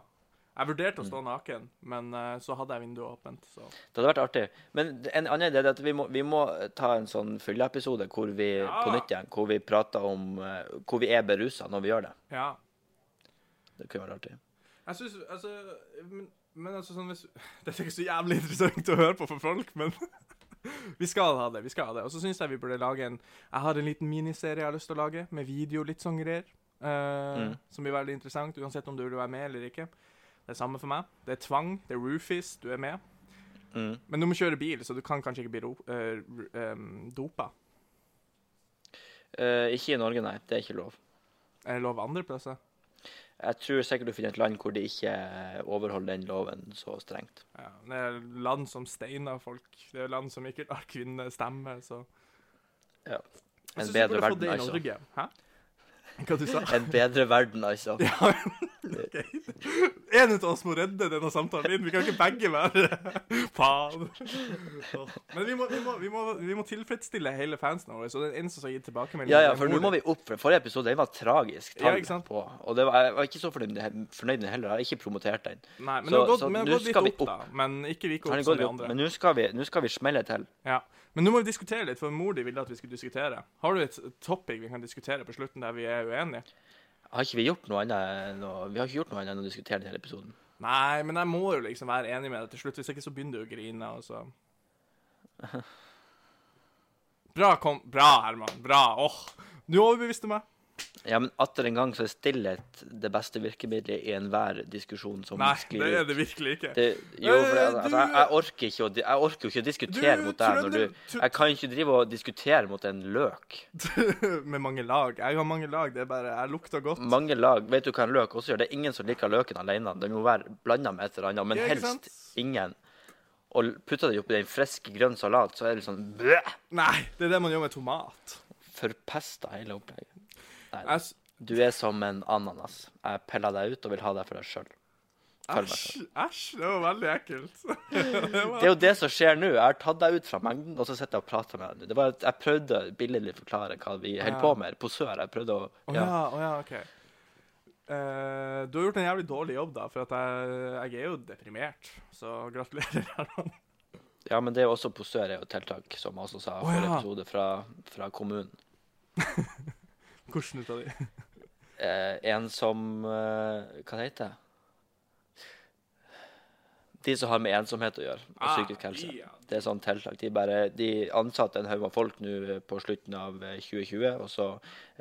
Speaker 2: Jeg vurderte å stå naken, men eh, så hadde jeg vinduet åpent, så
Speaker 1: Det hadde vært artig. Men det- en annen idé er at vi må, vi må ta en sånn fylleepisode hvor vi
Speaker 2: Ja.
Speaker 1: på nytt igjen, hvor vi prater om eh, Hvor vi er berusa når vi gjør det.
Speaker 2: Ja.
Speaker 1: Det kunne vært artig.
Speaker 2: Jeg syns Altså men, men altså sånn hvis Dette er ikke så jævlig interessant å høre på for folk, men Vi skal ha det. vi skal ha det. Og så syns jeg vi burde lage en Jeg har en liten miniserie jeg har lyst til å lage, med video, litt sånn greier. eh,
Speaker 1: Mm.
Speaker 2: Som blir veldig interessant, uansett om du vil være med eller ikke. Det er samme for meg. Det er tvang, det er roofies, du er med.
Speaker 1: Mm.
Speaker 2: Men du må kjøre bil, så du kan kanskje ikke bli ro, eh, ru- em, dopa.
Speaker 1: Eh, ikke i Norge, nei. Det er ikke lov.
Speaker 2: Er det lov andre plasser?
Speaker 1: Jeg tror sikkert du finner et land hvor de ikke overholder den loven så strengt.
Speaker 2: Ja, det er land som steiner folk. Det er land som ikke lar kvinner stemme, så
Speaker 1: Ja.
Speaker 2: Jeg
Speaker 1: En
Speaker 2: synes vi
Speaker 1: bedre
Speaker 2: burde fått
Speaker 1: verden,
Speaker 2: det i
Speaker 1: altså.
Speaker 2: Norge. Hæ? Hva du sa
Speaker 1: En bedre verden, altså.
Speaker 2: Ja, ok. En av oss må redde denne samtalen inn. Vi kan ikke begge være Faen. Men vi må, vi, må, vi, må, vi må tilfredsstille hele fansen vår, så den eneste som har gitt tilbakemelding
Speaker 1: Ja, ja, for nå må vi opp. For forrige episode den var tragisk.
Speaker 2: Ja,
Speaker 1: tallet
Speaker 2: ikke sant?
Speaker 1: På, og det var, jeg var ikke så fornøyd med den- fornøyd med den heller. Jeg har ikke promotert den.
Speaker 2: Nei, men
Speaker 1: Så-
Speaker 2: det har gått,
Speaker 1: så
Speaker 2: men det
Speaker 1: nå
Speaker 2: har gått litt
Speaker 1: skal vi
Speaker 2: opp, da. Men ikke like
Speaker 1: Den
Speaker 2: opp
Speaker 1: har
Speaker 2: som
Speaker 1: gått
Speaker 2: de
Speaker 1: opp,
Speaker 2: andre.
Speaker 1: men nå skal, vi- nå skal vi smelle til.
Speaker 2: Ja. Men nå må vi diskutere litt, for mor di ville at vi skulle diskutere. Har du et topic vi kan diskutere på slutten der vi er uenige?
Speaker 1: Har ikke vi gjort noe annet enn å, vi har ikke gjort noe annet enn å diskutere denne episoden?
Speaker 2: Nei, men jeg må jo liksom være enig med deg til slutt. Hvis ikke så begynner du å grine, altså. og så Bra, kom. Bra, Herman. Bra. Åh. Du overbeviste meg.
Speaker 1: Ja, men atter en gang så er stillhet det beste virkemidlet i enhver diskusjon som
Speaker 2: Nei, det
Speaker 1: sklir
Speaker 2: er
Speaker 1: ut.
Speaker 2: det virkelig ikke.
Speaker 1: Det, jo, for det,
Speaker 2: Eh,
Speaker 1: altså,
Speaker 2: du-
Speaker 1: jeg, jeg, orker ikke å, di- jeg orker jo ikke å diskutere
Speaker 2: Du
Speaker 1: mot deg når
Speaker 2: trønder-
Speaker 1: du Jeg kan ikke drive og diskutere mot en løk.
Speaker 2: med mange lag. Jeg har mange lag. Det er bare Jeg lukter godt.
Speaker 1: Mange lag Vet du hva en løk også gjør? Det er ingen som liker løken alene. Den må være blanda med et eller annet, men
Speaker 2: Ja, ikke sant?
Speaker 1: helst ingen. Og l- putter du det oppi en frisk, grønn salat, så er det litt sånn bleh,
Speaker 2: Nei, det er det man gjør med tomat.
Speaker 1: Forpesta hele opplegget.
Speaker 2: Jeg, s-
Speaker 1: Du er som en ananas. Jeg peller deg ut og vil ha deg for deg sjøl. Følg meg
Speaker 2: Æsj. Æsj. Det var veldig ekkelt. Det var-
Speaker 1: Det er jo det som skjer nå. Jeg har tatt deg ut fra mengden, og så sitter jeg og prater med deg nå. Det var at Jeg prøvde å billedlig forklare hva vi holder på med. På sør. Jeg prøvde å
Speaker 2: Å ja,
Speaker 1: ja.
Speaker 2: å ja, OK. Eh, du har gjort en jævlig dårlig jobb, da, for at jeg, jeg er jo deprimert. Så gratulerer. Herman.
Speaker 1: ja, men det er jo også på sør er jo tiltak, som jeg også sa i
Speaker 2: Å
Speaker 1: forrige
Speaker 2: ja.
Speaker 1: episode, fra, fra kommunen.
Speaker 2: Hvordan ut av de?
Speaker 1: Eh, en som eh, Hva det heter det? De som har med ensomhet å gjøre, og
Speaker 2: Ah,
Speaker 1: psykisk helse.
Speaker 2: ja.
Speaker 1: Det er sånn tiltak. De, bare, de ansatte en haug med folk nå på slutten av eh, 2020, og så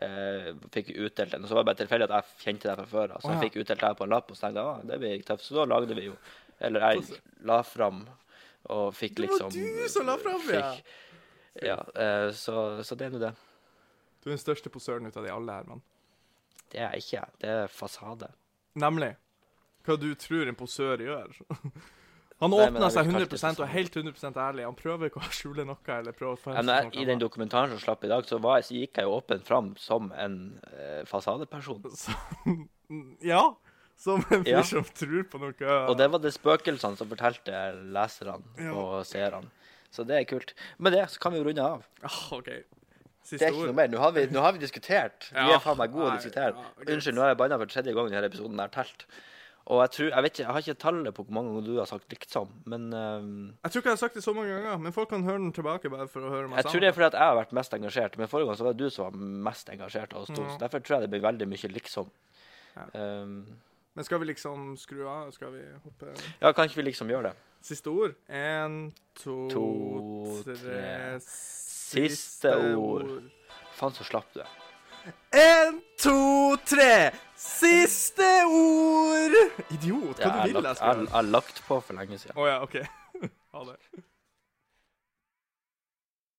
Speaker 1: eh, fikk vi utdelt en. Og så var det bare tilfeldig at jeg kjente deg fra før. Altså,
Speaker 2: Å, ja.
Speaker 1: Jeg fikk utdelt deg på en lapp, og så tenkte jeg ah, det blir tøft. Så da lagde vi jo Eller jeg la fram og fikk
Speaker 2: Det var
Speaker 1: liksom
Speaker 2: du som la fram, ja.
Speaker 1: fikk, ja! eh, så, så det er nå det.
Speaker 2: Du er den største posøren ut av de alle, Herman.
Speaker 1: Det er ikke jeg. Det er fasade.
Speaker 2: Nemlig hva du tror en posør gjør. Han
Speaker 1: Nei, men
Speaker 2: åpner
Speaker 1: jeg
Speaker 2: seg
Speaker 1: vil kalle det
Speaker 2: 100 og er
Speaker 1: posør.
Speaker 2: helt 100 ærlig. Han prøver ikke å skjule noe. eller prøve å få
Speaker 1: Ja,
Speaker 2: helse
Speaker 1: men jeg,
Speaker 2: til noe
Speaker 1: I den
Speaker 2: annet.
Speaker 1: dokumentaren som slapp i dag, så, var jeg, så gikk jeg jo åpent fram som en eh, fasadeperson.
Speaker 2: Som- Ja, som en fyr
Speaker 1: Ja.
Speaker 2: som tror på noe
Speaker 1: Og det var det spøkelsene som fortalte leserne
Speaker 2: Ja.
Speaker 1: og seerne. Så det er kult. Med det så kan vi jo runde av.
Speaker 2: Ah, OK.
Speaker 1: Det
Speaker 2: Siste
Speaker 1: er ikke noe
Speaker 2: ord.
Speaker 1: mer. Nå har vi, nå har vi diskutert. Vi
Speaker 2: Ja,
Speaker 1: er faen meg gode å
Speaker 2: nei,
Speaker 1: diskutere.
Speaker 2: ja, greit.
Speaker 1: Unnskyld, nå har jeg banna for tredje gang i denne episoden her telt. Og jeg tror, jeg vet ikke, jeg har ikke tallet på hvor mange ganger du har sagt liksom, men eh,
Speaker 2: Jeg tror ikke jeg har sagt det så mange ganger, men folk kan høre den tilbake bare for å høre meg
Speaker 1: jeg tror det er fordi at jeg har vært mest engasjert. Men forrige gang så var det du som var mest engasjert av oss to.
Speaker 2: Ja.
Speaker 1: Så derfor tror jeg det blir veldig mye liksom.
Speaker 2: Mm. Ja.
Speaker 1: Um,
Speaker 2: Men skal vi liksom skru av? Skal vi hoppe
Speaker 1: ja, kan ikke vi liksom gjøre det?
Speaker 2: Siste ord. Én, to,
Speaker 1: To,
Speaker 2: tre
Speaker 1: tre. Siste ord. Faen, så slapp du er.
Speaker 2: Én, to, tre. Siste ord!
Speaker 1: Ja,
Speaker 2: Idiot, hva
Speaker 1: jeg
Speaker 2: du vil
Speaker 1: har
Speaker 2: jeg
Speaker 1: lagt,
Speaker 2: skal
Speaker 1: jeg- jeg har lagt på for lenge siden.
Speaker 2: Å ja, OK. ha det.